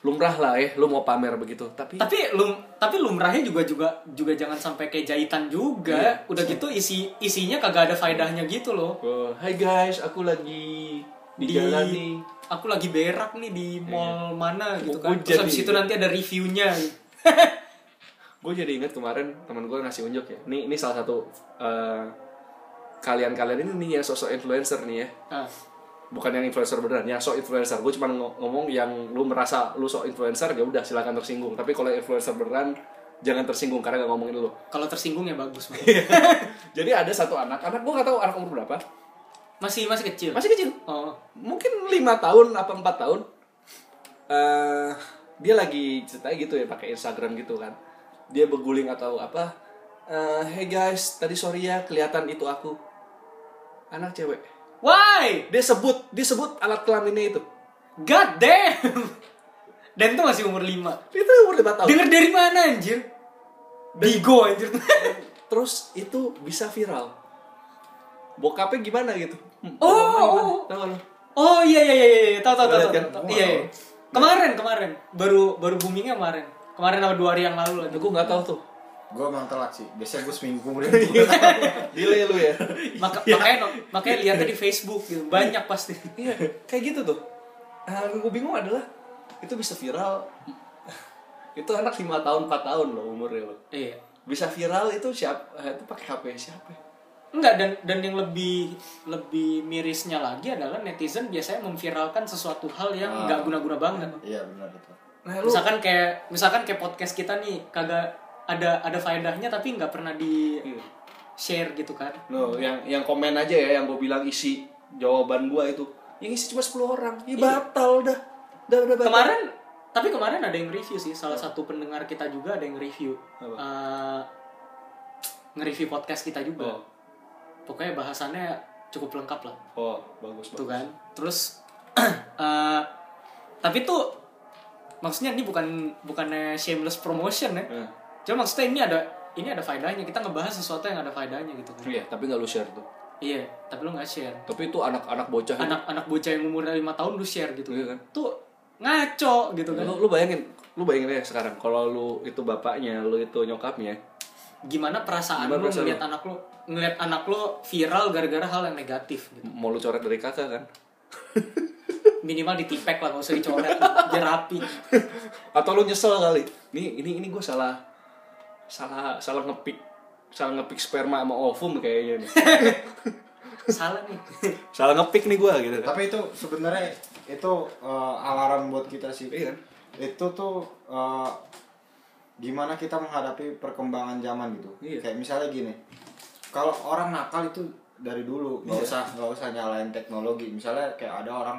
S2: lumrah lah ya, lu mau pamer begitu. Tapi
S1: Tapi lum tapi lumrahnya juga juga juga jangan sampai kayak jahitan juga.
S2: Iya,
S1: Udah gitu isi isinya kagak ada faedahnya gitu loh.
S2: Eh, hai guys, aku lagi di, jalan nih. Iya.
S1: Aku lagi berak nih di mall mana gitu
S2: Oh,
S1: kan.
S2: jadi-
S1: Terus habis itu nanti ada reviewnya.
S2: Gue jadi inget kemarin teman gue ngasih unjuk ya. Ini ini salah satu eh, kalian-kalian ini nih ya sosok influencer nih ya.
S1: nah,
S2: Bukan yang influencer beneran, yang sok influencer. Gue cuma ngo- ngomong yang lu merasa lu sok influencer ya udah silakan tersinggung. Tapi kalau influencer beneran jangan tersinggung karena gak ngomongin lu.
S1: kalau tersinggung ya bagus. Bang.
S2: Iya. Jadi ada satu anak, anak gue gak tahu anak umur berapa.
S1: masih masih kecil.
S2: Masih kecil.
S1: Oh,
S2: mungkin lima tahun apa empat tahun eh dia lagi cerita gitu ya pakai Instagram gitu kan dia beguling atau apa eh hey guys tadi sorry ya kelihatan itu aku anak cewek
S1: why?
S2: dia sebut dia sebut alat kelaminnya itu
S1: God damn. Dan tuh masih umur 5.
S2: itu umur lima tahun
S1: Dengar dari mana anjir? Bigo anjir.
S2: terus itu bisa viral bokapnya gimana gitu
S1: Oh.
S2: Bokapnya gimana? Tahu lu?
S1: Oh iya iya iya iya tahu tahu
S2: Gua
S1: tahu.
S2: liat kan?
S1: tahu, tahu.
S2: Gua
S1: Iya.
S2: nggak
S1: iya. Kemarin kemarin baru baru boomingnya kemarin. Kemarin apa dua hari yang lalu lah.
S2: gue nggak tahu tuh
S3: gue emang telat sih biasanya gue seminggu kemudian Iya.
S2: delay lu ya
S1: Maka, makanya makanya lihatnya di Facebook gitu. Banyak pasti.
S2: Iya, kayak gitu tuh. Nah, yang gue bingung adalah itu bisa viral. itu anak 5 tahun, 4 tahun loh umurnya loh.
S1: Iya.
S2: Bisa viral itu siapa? Itu pakai HP siapa? ya?
S1: Enggak dan dan yang lebih lebih mirisnya lagi adalah netizen biasanya memviralkan sesuatu hal yang
S3: Ah.
S1: nggak guna-guna banget.
S3: iya benar itu
S2: Nah, lu
S1: Misalkan kayak misalkan kayak podcast kita nih kagak ada ada faedahnya tapi nggak pernah di
S2: Iya.
S1: share gitu kan.
S2: Loh, yang yang komen aja ya yang gue bilang isi jawaban gua itu. Yang isi cuma 10 orang. Ya batal dah. Dah udah batal.
S1: Iya. kemarin tapi kemarin ada yang review sih salah satu pendengar kita juga ada yang review
S2: Apa?
S1: Eh, nge-review podcast kita juga
S2: Oh.
S1: pokoknya bahasannya cukup lengkap lah
S2: Oh, bagus
S1: tuh kan
S2: banget.
S1: terus eh, tapi tuh maksudnya ini bukan bukannya shameless promotion ya
S2: Nah,
S1: cuma maksudnya ini ada ini ada faedahnya kita ngebahas sesuatu yang ada faedahnya gitu kan
S2: iya, tapi nggak lu share tuh.
S1: iya tapi lu nggak share
S2: Tapi itu anak-anak bocah itu.
S1: anak-anak bocah yang umurnya lima tahun lu share gitu
S2: Iya kan?
S1: tuh ngaco gitu kan
S2: Lu, lu bayangin, lu bayangin ya sekarang kalau lu itu bapaknya, lu itu nyokapnya,
S1: gimana perasaan
S2: Gimana
S1: lu
S2: perasaan
S1: ngeliat anak lu ngeliat anak lu viral gara-gara hal yang negatif gitu.
S2: mau lu coret dari kakak kan
S1: minimal ditipek lah gak usah dicoret biar rapi
S2: atau lu nyesel kali ini ini ini gue salah salah salah ngepick salah ngepick sperma sama ovum kayaknya nih
S1: salah nih
S2: salah ngepick nih gue gitu kan
S3: tapi itu sebenarnya itu eh, alarm buat kita sih
S2: Iya.
S3: itu tuh eh, gimana kita menghadapi perkembangan zaman gitu
S2: Iya.
S3: kayak misalnya gini kalau orang nakal itu dari
S2: Iya.
S3: dulu nggak usah nggak usah nyalain teknologi misalnya kayak ada orang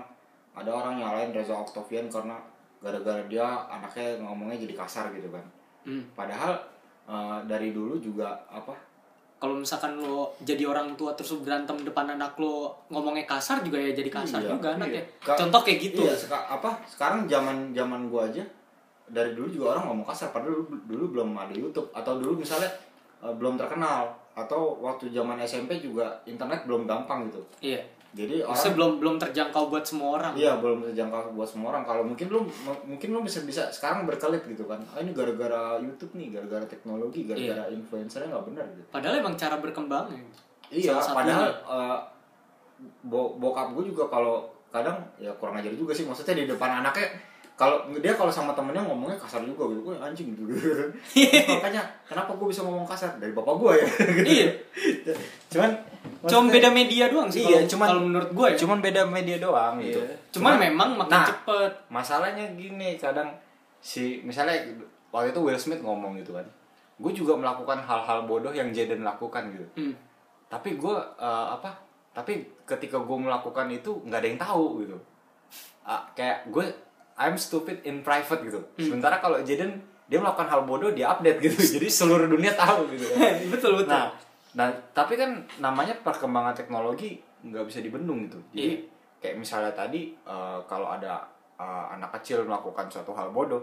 S3: ada orang nyalain Reza Octavian karena gara-gara dia anaknya ngomongnya jadi kasar gitu kan
S1: Hmm.
S3: padahal eh, dari dulu juga apa
S1: Kalau misalkan lo jadi orang tua terus lo berantem depan anak lo ngomongnya kasar juga ya jadi kasar
S3: Iya,
S1: juga
S3: iya.
S1: anak ya.
S3: Ka-
S1: Contoh kayak gitu.
S3: iya, seka- apa sekarang zaman zaman gua aja dari dulu juga orang ngomong kasar padahal dulu, dulu belum ada YouTube atau dulu misalnya eh, belum terkenal atau waktu zaman SMP juga internet belum gampang gitu
S1: Iya.
S3: jadi orang
S1: Maksudnya belum belum terjangkau buat semua orang.
S3: Iya belum terjangkau buat semua orang. Kalau mungkin lu m- mungkin lu bisa bisa sekarang berkelit gitu kan. Ah, ini gara-gara YouTube nih, gara-gara teknologi,
S1: Iya.
S3: gara-gara influencernya nggak benar gitu.
S1: Padahal emang cara berkembangnya.
S3: Iya.
S1: Salah satunya. ya?
S3: Padahal eh, bo- bokap gue juga kalau kadang ya kurang ajar juga sih. Maksudnya di depan anaknya kalau dia kalau sama temennya ngomongnya kasar juga gitu, gue anjing gitu. Makanya kenapa gue bisa ngomong kasar dari bapak gue ya.
S1: Iya.
S3: cuman
S1: Cuma
S3: maksudnya-
S1: beda media doang sih.
S3: Iya,
S1: kalau-
S3: cuman-
S1: kalau menurut gue ya.
S3: Cuman beda media doang gitu.
S2: Iya.
S1: Cuman memang makin
S3: Nah.
S1: cepet.
S3: masalahnya gini kadang si misalnya waktu itu Will Smith ngomong gitu kan gue juga melakukan hal-hal bodoh yang Jaden lakukan gitu
S1: Hmm.
S3: tapi gue eh, apa tapi ketika gue melakukan itu nggak ada yang tahu gitu Ah, kayak gue I'm stupid in private gitu sementara kalau Jaden dia melakukan hal bodoh dia update gitu jadi seluruh dunia tahu gitu kan.
S1: Betul, betul.
S3: nah nah tapi kan namanya perkembangan teknologi nggak bisa dibendung gitu
S1: Iya.
S3: jadi kayak misalnya tadi eh, kalau ada eh, anak kecil melakukan suatu hal bodoh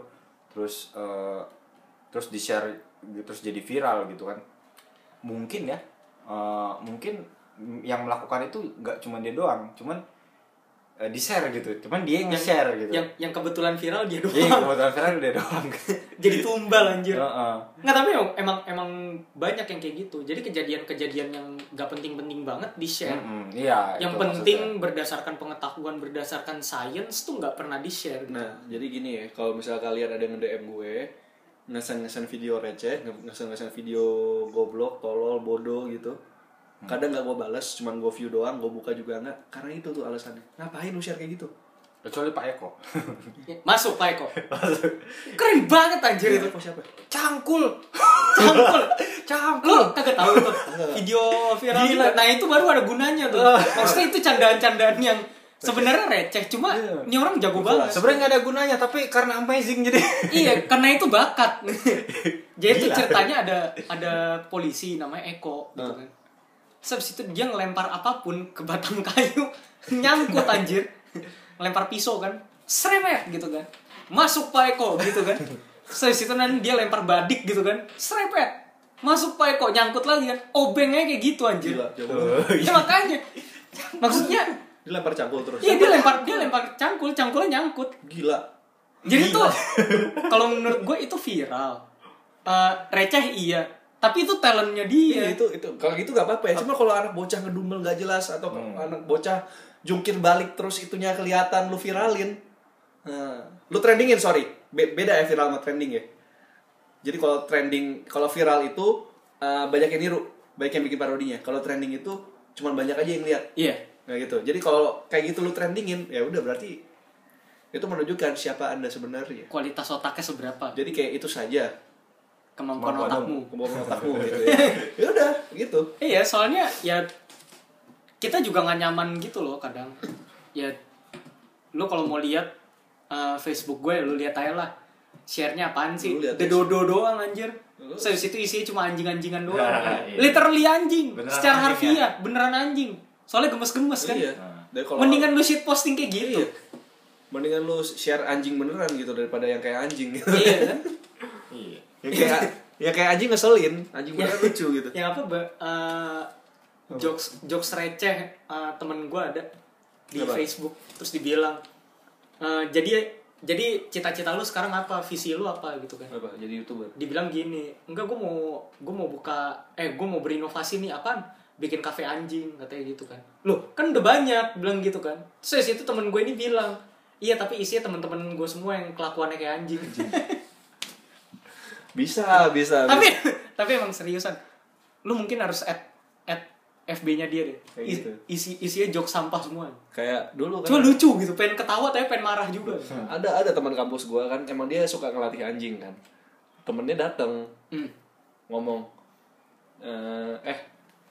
S3: terus eh, terus di share terus jadi viral gitu kan mungkin ya eh, mungkin yang melakukan itu nggak cuma dia doang cuman eh, di share gitu cuman dia yang share gitu
S1: Yang yang kebetulan viral dia
S3: Iya,
S1: doang.
S3: kebetulan viral dia doang
S1: Jadi tumbal anjir.
S3: Heeh.
S1: Nggak, tapi emang- emang emang banyak yang kayak gitu. Jadi kejadian-kejadian yang nggak penting-penting banget di-share.
S3: Mm-mm, iya
S1: yang
S3: itu
S1: penting
S3: maksudnya.
S1: berdasarkan pengetahuan, berdasarkan sains tuh nggak pernah di-share. gitu.
S2: Nah, jadi gini ya, kalau misal kalian ada yang nge-DM gue, ngesen-ngesen video receh, nge- ngesen-ngesen video goblok, tolol, bodoh gitu. Kadang nggak gue balas, cuman gue view doang, gue buka juga nggak. Karena itu tuh alasannya. Ngapain lu share kayak gitu?
S3: kecuali Pak Eko
S1: Ya, Masuk Pak Eko. Keren banget anjir itu.
S2: Kok siapa?
S3: cangkul
S1: Campur.
S3: cangkul
S1: Lu kagak tahu tuh video viral
S3: Gila.
S1: kita. Nah, itu baru ada gunanya tuh. Maksudnya itu candaan-candaan yang sebenarnya receh, cuma
S3: Iya.
S1: ini orang jago banget.
S3: sebenarnya nggak ada gunanya tapi karena amazing jadi
S1: iya karena itu bakat jadi itu
S3: Gila.
S1: ceritanya ada ada polisi namanya Eko gitu kan Terus habis itu dia ngelempar apapun ke batang kayu nyangkut anjir ngelempar pisau kan sremet gitu kan masuk Pak Eko gitu kan Terus habis itu nanti dia lempar badik gitu kan srepet masuk Pak Eko nyangkut lagi kan obengnya kayak gitu anjir
S2: Gila, jauh banget.
S1: ya makanya maksudnya
S2: Dilempar cangkul terus.
S1: iya dia lempar dia lempar cangkul cangkulnya nyangkut
S2: Gila.
S1: jadi tuh kalau menurut gue itu viral. Eh, receh iya, tapi itu talentnya dia.
S2: Iya, itu itu kalau gitu nggak apa-apa ya. Cuma kalau anak bocah ngedumel nggak jelas atau kalau
S1: Hmm.
S2: anak bocah jungkir balik terus itunya kelihatan lu viralin. Nah, lu trendingin sorry. Be- beda ya viral sama trending ya. Jadi kalau trending kalau viral itu eh, banyak yang niru, banyak yang bikin parodinya. Kalau trending itu cuman banyak aja yang lihat.
S1: Iya.
S2: Nah gitu. Jadi kalau kayak gitu lu trendingin, ya udah berarti itu menunjukkan siapa Anda sebenarnya.
S1: Kualitas otaknya seberapa?
S2: Jadi kayak itu saja
S1: Kemampuan
S3: Kemampuan
S1: otakmu.
S2: kemampuan otakmu gitu ya. Ya udah, gitu.
S1: Iya, soalnya ya kita juga nggak nyaman gitu loh kadang. Ya lu kalau mau lihat eh, Facebook gue, lu lihat aja lah. Share-nya apaan sih?
S2: Lu lihat
S1: The
S2: aja.
S1: dodo doang anjir.
S2: Lu-
S1: Terus habis itu isinya cuma anjing-anjingan doang.
S3: Nah, iya.
S1: Literally anjing.
S3: Beneran
S1: secara
S3: anjing
S1: harfiah, beneran anjing. Soalnya gemes-gemes kan.
S2: Iya. Dari kalau-
S1: Mendingan lu shit posting kayak gitu.
S2: Iya. Mendingan lu share anjing beneran gitu daripada yang kayak anjing gitu.
S1: iya kan?
S3: iya
S2: yang kayak ya kayak anjing ngeselin, anjing beneran lucu gitu.
S1: Yang apa? Ba, eh, jokes jokes receh eh, temen gue ada di
S2: Apa?
S1: Facebook terus dibilang eh, jadi jadi cita-cita lu sekarang apa visi lu apa gitu kan
S2: Apa? Jadi YouTuber.
S1: dibilang gini enggak gue mau gue mau buka eh gue mau berinovasi nih apaan bikin kafe anjing katanya gitu kan loh kan udah banyak bilang gitu kan terus dari situ temen gue ini bilang iya tapi isinya temen-temen gue semua yang kelakuannya kayak anjing.
S2: Bisa, bisa.
S1: tapi
S2: bisa.
S1: tapi emang seriusan lu mungkin harus add add FB-nya dia deh
S2: Kayak
S1: Is-
S2: gitu.
S1: isi isinya jok sampah semua
S2: kayak dulu kan
S1: cuma lucu gitu pengen ketawa tapi pengen marah juga
S2: ada ada teman kampus gua kan emang dia suka ngelatih anjing kan. Temennya datang
S1: Hmm.
S2: ngomong "Eh, eh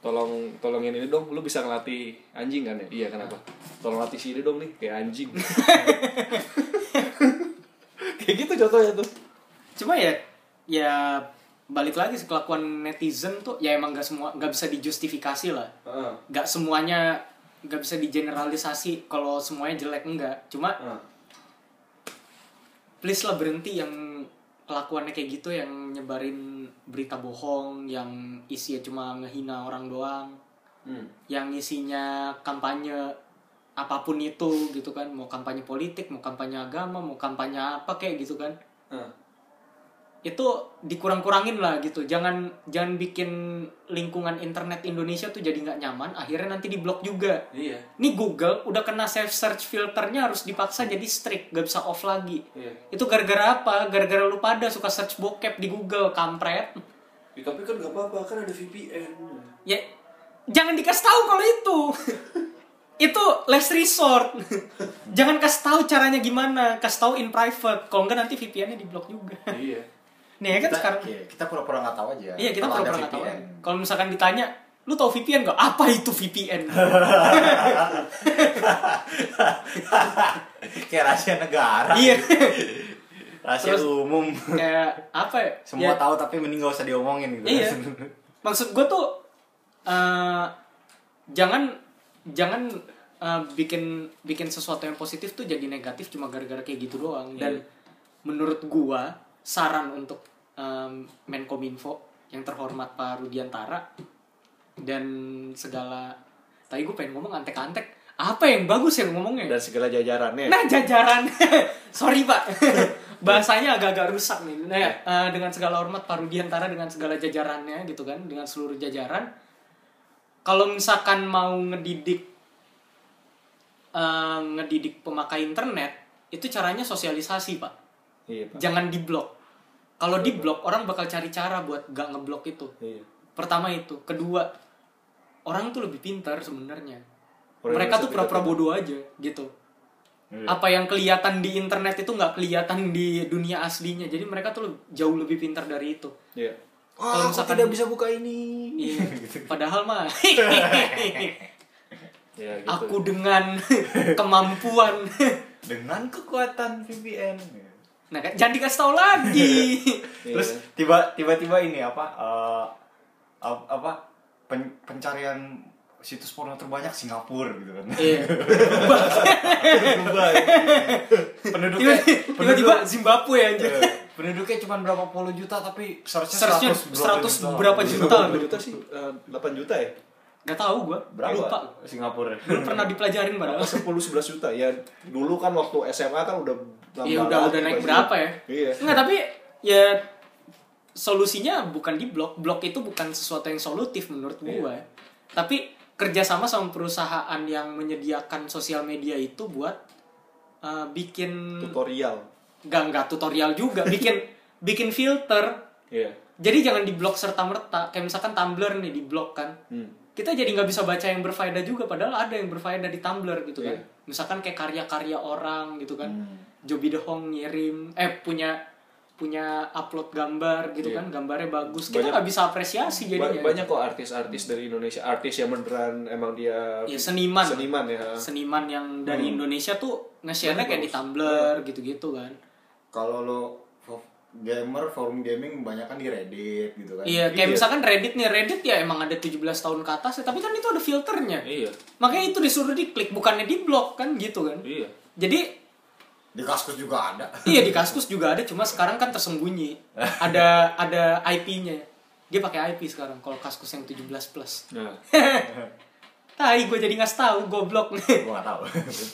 S2: tolong tolongin ini dong lu bisa ngelatih anjing kan ya iya kenapa tolong latih si ini dong nih kayak anjing kayak gitu contohnya tuh
S1: Cuma ya ya balik lagi sih, kelakuan netizen tuh ya emang gak semua gak bisa dijustifikasi lah.
S2: Heeh.
S1: Gak semuanya gak bisa digeneralisasi kalau semuanya jelek enggak. Cuma
S2: Heeh.
S1: please lah berhenti yang kelakuannya kayak gitu yang nyebarin berita bohong yang isinya cuma ngehina orang doang
S2: Hmm.
S1: yang isinya kampanye apapun itu gitu kan mau kampanye politik mau kampanye agama mau kampanye apa kayak gitu kan
S2: Heeh.
S1: itu dikurang-kurangin lah gitu jangan jangan bikin lingkungan internet Indonesia tuh jadi nggak nyaman akhirnya nanti diblok juga
S2: iya
S1: nih Google udah kena safe search filternya harus dipaksa jadi strict gak bisa off lagi
S2: iya
S1: itu gara-gara apa? Gara-gara lu pada suka search bokep di Google, kampret.
S2: Ya, tapi kan gak apa-apa kan ada VPN
S1: Ya, jangan dikasih tahu kalau itu. itu last resort. jangan kasih tahu caranya gimana, kasih tahu in private. Kalau enggak nanti VPN-nya diblok juga.
S2: iya
S1: Nih ya kan
S3: kita,
S1: sekarang.
S3: iya, kita pura-pura nggak tahu aja
S1: Iya, kita
S3: kalau ada
S1: pernah nggak tahu.
S3: VPN.
S1: Kalau misalkan ditanya, lu tahu VPN gak? Apa itu VPN?
S3: kayak rahasia negara
S1: Iya.
S3: rahasia
S1: Terus-
S3: umum
S1: Kayak apa ya?
S3: semua
S1: Ya,
S3: tahu tapi mending gak usah diomongin gitu
S1: Iya. maksud gue tuh eh, jangan jangan eh, bikin bikin sesuatu yang positif tuh jadi negatif cuma gara-gara kayak gitu doang dan
S2: Iya.
S1: menurut gua saran untuk em, Menkominfo yang terhormat Pak Rudiantara dan segala tadi gue pengen ngomong antek-antek apa yang bagus yang ngomongnya
S2: dan segala jajarannya
S1: nah jajaran sorry pak bahasanya agak-agak rusak nih nah, ya, eh, dengan segala hormat Pak Rudiantara dengan segala jajarannya gitu kan dengan seluruh jajaran kalau misalkan mau ngedidik eh, ngedidik pemakai internet itu caranya sosialisasi pak
S2: iya pak
S1: jangan diblok kalau diblok orang bakal cari cara buat gak ngeblok itu
S2: iya
S1: pertama itu kedua orang tuh lebih pintar sebenarnya
S2: Orang
S1: mereka
S2: bisa
S1: tuh pura-pura bodoh aja gitu
S3: Iya.
S1: apa yang kelihatan di internet itu nggak kelihatan di dunia aslinya jadi mereka tuh lebih- jauh lebih pintar dari itu
S2: iya
S1: Kalau
S3: Wah, aku
S1: misalkan-
S3: tidak bisa buka ini
S1: Iya. padahal mah
S2: ya gitu
S1: aku dengan kemampuan
S3: dengan kekuatan VPN
S1: nah kan, jangan dikasih tahu lagi
S2: Iya.
S3: terus tiba tiba-tiba ini apa eh, ap- apa pen- pencarian situs porno terbanyak Singapura gitu kan
S1: Iya.
S3: Berubah, ya. penduduknya
S1: Tiba-
S3: penduduk-
S1: tiba-tiba Zimbabwe aja
S3: eh, penduduknya cuma berapa puluh juta tapi
S1: Iya. Search-nya
S3: searchnya
S1: 100 berapa juta. gitu.
S2: Berapa juta sih Eh, 8 juta ya
S1: nggak tahu gua
S3: berapa
S1: lupa
S3: Singapura
S1: dulu pernah dipelajarin padahal
S2: 10 11 juta ya dulu kan waktu SMA kan udah
S1: Iya udah
S2: nambah lagi
S1: udah naik
S2: pasti.
S1: berapa ya?
S2: Iya.
S1: Enggak tapi ya solusinya bukan di blok. Blok itu bukan sesuatu yang solutif menurut gua. Tapi kerjasama sama perusahaan yang menyediakan sosial media itu buat eh, bikin
S2: Tutorial.
S1: nggak nggak tutorial juga, bikin bikin filter.
S2: Iya.
S1: Jadi jangan di blok serta merta. Kayak misalkan Tumblr nih di blok kan.
S2: Hmm.
S1: Kita jadi nggak bisa baca yang berfaedah juga padahal ada yang berfaedah di Tumblr gitu kan.
S2: Iya. Hmm.
S1: Misalkan kayak karya-karya orang gitu kan. Joby De Hong ngirim eh punya punya upload gambar gitu
S2: Iya.
S1: kan gambarnya bagus kita
S2: Banyak-
S1: nggak bisa apresiasi
S2: Ba-
S1: jadinya
S2: banyak kok artis-artis dari Indonesia, artis yang beneran emang dia
S1: Ya, seniman.
S2: Seniman ya. Hmm.
S1: seniman yang dari Indonesia tuh nge-share-nya kayak di Tumblr gitu-gitu kan
S3: kalau lo fo- gamer forum gaming banyak kan di Reddit gitu kan
S1: iya kayak
S2: Iya.
S1: misalkan Reddit nih Reddit ya emang ada 17 tahun ke atas ya, tapi kan itu ada filternya
S2: Iya.
S1: makanya itu disuruh diklik bukannya di blok kan gitu kan
S2: Iya.
S1: jadi
S3: di kaskus juga ada
S1: iya di Kaskus juga ada cuma sekarang kan tersembunyi ada ada IP-nya dia pakai IP sekarang kalau Kaskus yang 17 plus
S2: Nah,
S1: Tai gue jadi ngasih tahu goblok nih.
S3: gua nggak tahu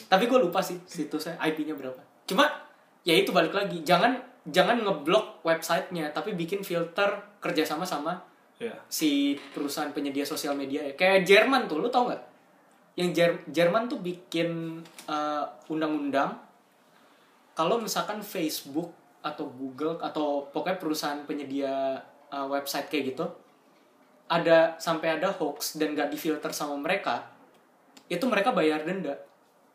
S1: Tapi gue lupa sih situsnya IP-nya berapa. Cuma ya itu balik lagi jangan jangan ngeblok websitenya tapi bikin filter kerjasama sama
S2: ya.
S1: si perusahaan penyedia sosial media ya. Kayak Jerman tuh lu tau nggak? Yang Jer- Jerman tuh bikin eh, undang-undang kalau misalkan Facebook atau Google atau pokoknya perusahaan penyedia eh, website kayak gitu ada sampai ada hoax dan gak difilter sama mereka itu mereka bayar denda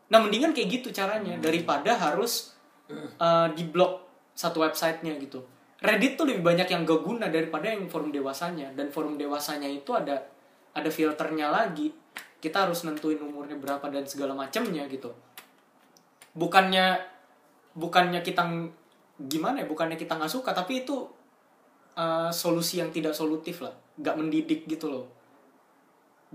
S1: nah mendingan kayak gitu caranya daripada harus eh, diblok satu websitenya gitu Reddit tuh lebih banyak yang gak guna daripada yang forum dewasanya dan forum dewasanya itu ada ada filternya lagi kita harus nentuin umurnya berapa dan segala macamnya gitu bukannya bukannya kita ng- gimana ya bukannya kita nggak suka tapi itu eh, solusi yang tidak solutif lah nggak mendidik gitu loh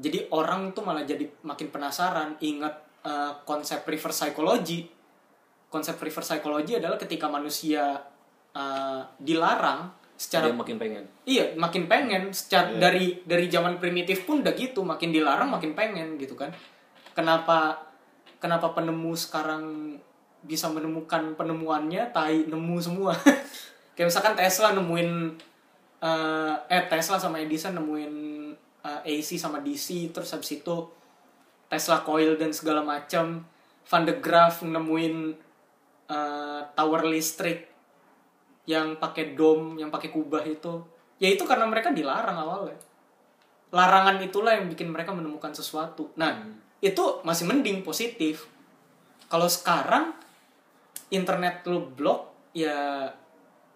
S1: jadi orang tuh malah jadi makin penasaran ingat eh, konsep reverse psychology konsep reverse psychology adalah ketika manusia eh, dilarang secara
S4: Dia makin pengen.
S1: Iya, makin pengen secara dari dari zaman primitif pun udah gitu, makin dilarang makin pengen gitu kan. Kenapa kenapa penemu sekarang bisa menemukan penemuannya tai nemu semua. Kayak misalkan Tesla nemuin eh, eh Tesla sama Edison nemuin eh, AC sama DC terus habis itu Tesla coil dan segala macam. Van de Graaff nemuin eh, tower listrik yang pakai dom, yang pakai kubah itu. Ya itu karena mereka dilarang awalnya. Larangan itulah yang bikin mereka menemukan sesuatu. Nah, itu masih mending positif. Kalau sekarang internet lu blok ya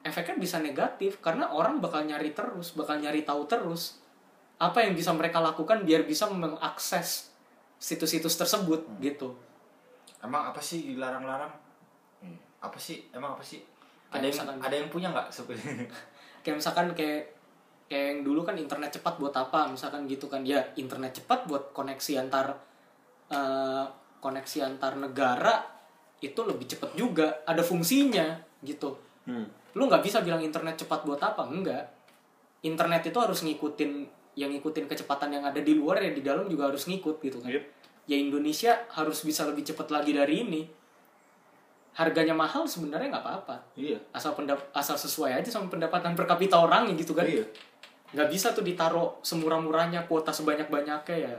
S1: efeknya bisa negatif karena orang bakal nyari terus, bakal nyari tahu terus apa yang bisa mereka lakukan biar bisa mengakses situs-situs tersebut gitu.
S3: Emang apa sih dilarang-larang? Hmm. Apa sih? Emang apa sih?
S1: Kayak
S3: Ada yang
S1: misalkan-
S3: ada yang punya nggak sebenarnya?
S1: kayak misalkan kayak kayak yang dulu kan internet cepat buat apa misalkan gitu kan ya internet cepat buat koneksi antar eh, koneksi antar negara itu lebih cepat juga ada fungsinya gitu
S4: Hmm.
S1: lu nggak bisa bilang internet cepat buat apa enggak internet itu harus ngikutin yang ngikutin kecepatan yang ada di luar ya di dalam juga harus ngikut gitu kan
S4: Yep.
S1: ya Indonesia harus bisa lebih cepat lagi dari ini harganya mahal sebenarnya nggak apa-apa
S4: Iya.
S1: asal pendap- asal sesuai aja sama pendapatan per kapita orangnya gitu kan
S4: Iya.
S1: nggak bisa tuh ditaruh semurah-murahnya kuota sebanyak-banyaknya ya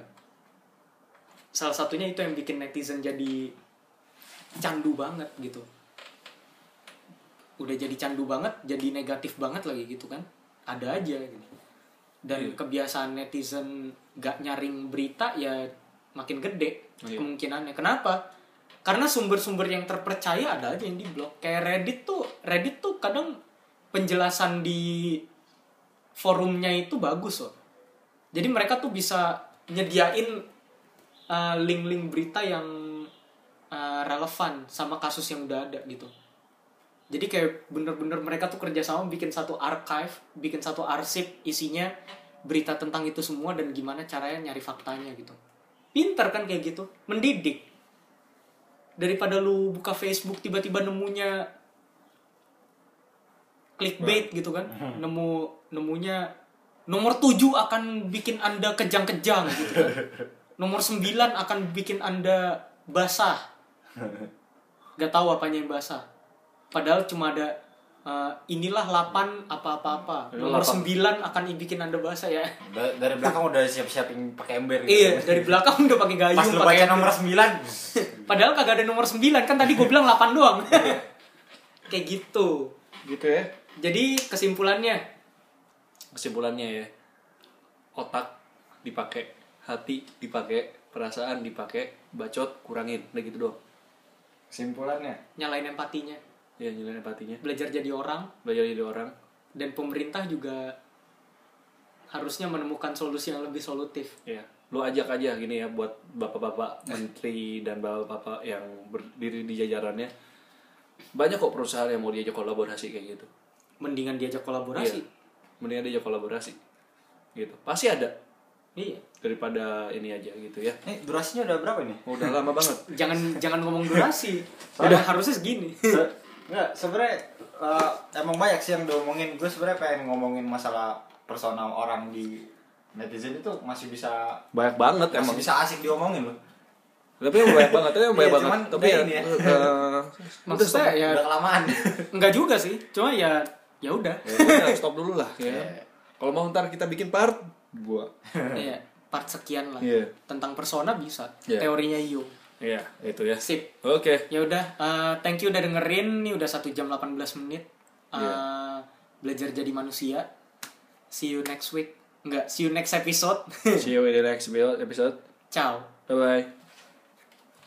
S1: salah satunya itu yang bikin netizen jadi candu banget gitu udah jadi candu banget jadi negatif banget lagi gitu kan ada aja gitu dan kebiasaan netizen gak nyaring berita ya makin gede
S4: Iya.
S1: kemungkinannya kenapa karena sumber-sumber yang terpercaya ada aja yang di blok kayak Reddit tuh Reddit tuh kadang penjelasan di forumnya itu bagus loh jadi mereka tuh bisa nyediain uh, link-link berita yang uh, relevan sama kasus yang udah ada gitu. Jadi kayak bener-bener mereka tuh kerjasama bikin satu archive, bikin satu arsip isinya berita tentang itu semua dan gimana caranya nyari faktanya gitu. Pinter kan kayak gitu, mendidik. Daripada lu buka Facebook tiba-tiba nemunya
S3: Nah.
S1: clickbait gitu kan,
S3: Hmm.
S1: nemu nemunya nomor 7 akan bikin anda kejang-kejang gitu kan. Nomor 9 akan bikin anda basah. Gak tahu apanya yang basah. Padahal cuma ada eh, inilah 8 apa-apa-apa.
S4: Ini
S1: Nomor
S4: 8.
S1: 9 akan bikin anda basah ya.
S3: Da- dari belakang udah siap-siapin pakai ember gitu.
S1: Iya, dari belakang udah pakai gayung.
S3: Pas lu baca
S1: pakai-
S3: nomor 9
S1: Padahal kagak ada nomor 9 kan tadi gue bilang 8 doang.
S4: Iya.
S1: Kayak gitu.
S2: gitu ya
S1: Jadi kesimpulannya
S4: Kesimpulannya ya. Otak dipakai, hati dipakai, perasaan dipakai, bacot kurangin, udah gitu doang.
S3: Simpulannya
S1: nyalain empatinya,
S4: Ya nilai empatinya.
S1: belajar jadi orang
S4: Belajar dari orang.
S1: dan pemerintah juga harusnya menemukan solusi yang lebih solutif.
S4: Ya. Lu ajak aja gini ya buat bapak-bapak menteri dan bapak-bapak yang berdiri di jajarannya. Banyak kok perusahaan yang mau diajak kolaborasi kayak gitu.
S1: Mendingan diajak kolaborasi.
S4: Iya. Mendingan diajak kolaborasi. Gitu. Pasti ada
S1: Iya.
S4: daripada ini aja gitu ya.
S3: Nih durasinya udah berapa nih?
S4: Udah lama banget.
S1: Jangan jangan ngomong durasi. Udah
S4: Iya.
S1: harusnya segini.
S3: Se- Enggak, sebenernya eh, emang banyak sih yang diomongin Gue sebenernya pengen ngomongin masalah personal orang di netizen itu masih bisa
S4: Banyak banget
S3: Masih
S4: emang.
S3: bisa asik diomongin loh
S4: Tapi emang banyak banget, tapi emang banyak
S3: Iya,
S4: banget.
S3: cuman
S4: Tapi
S3: udah
S4: ya,
S3: ini ya.
S4: eh,
S1: Maksudnya ya
S3: Udah kelamaan
S1: enggak juga sih. Cuma ya ya udah.
S4: ya udah, stop dulu lah ya.
S3: Iya.
S4: Kalau mau ntar kita bikin part gua.
S1: Iya, part sekian lah.
S4: Iya.
S1: Tentang persona bisa.
S4: Iya.
S1: Teorinya Jung.
S4: Iya, itu ya.
S1: Sip.
S4: Oke.
S1: ya udah eh, thank you udah dengerin nih udah satu jam 18 menit Eh, belajar jadi manusia see you next week enggak see you next episode
S4: See you in the next episode.
S1: ciao
S4: Bye bye.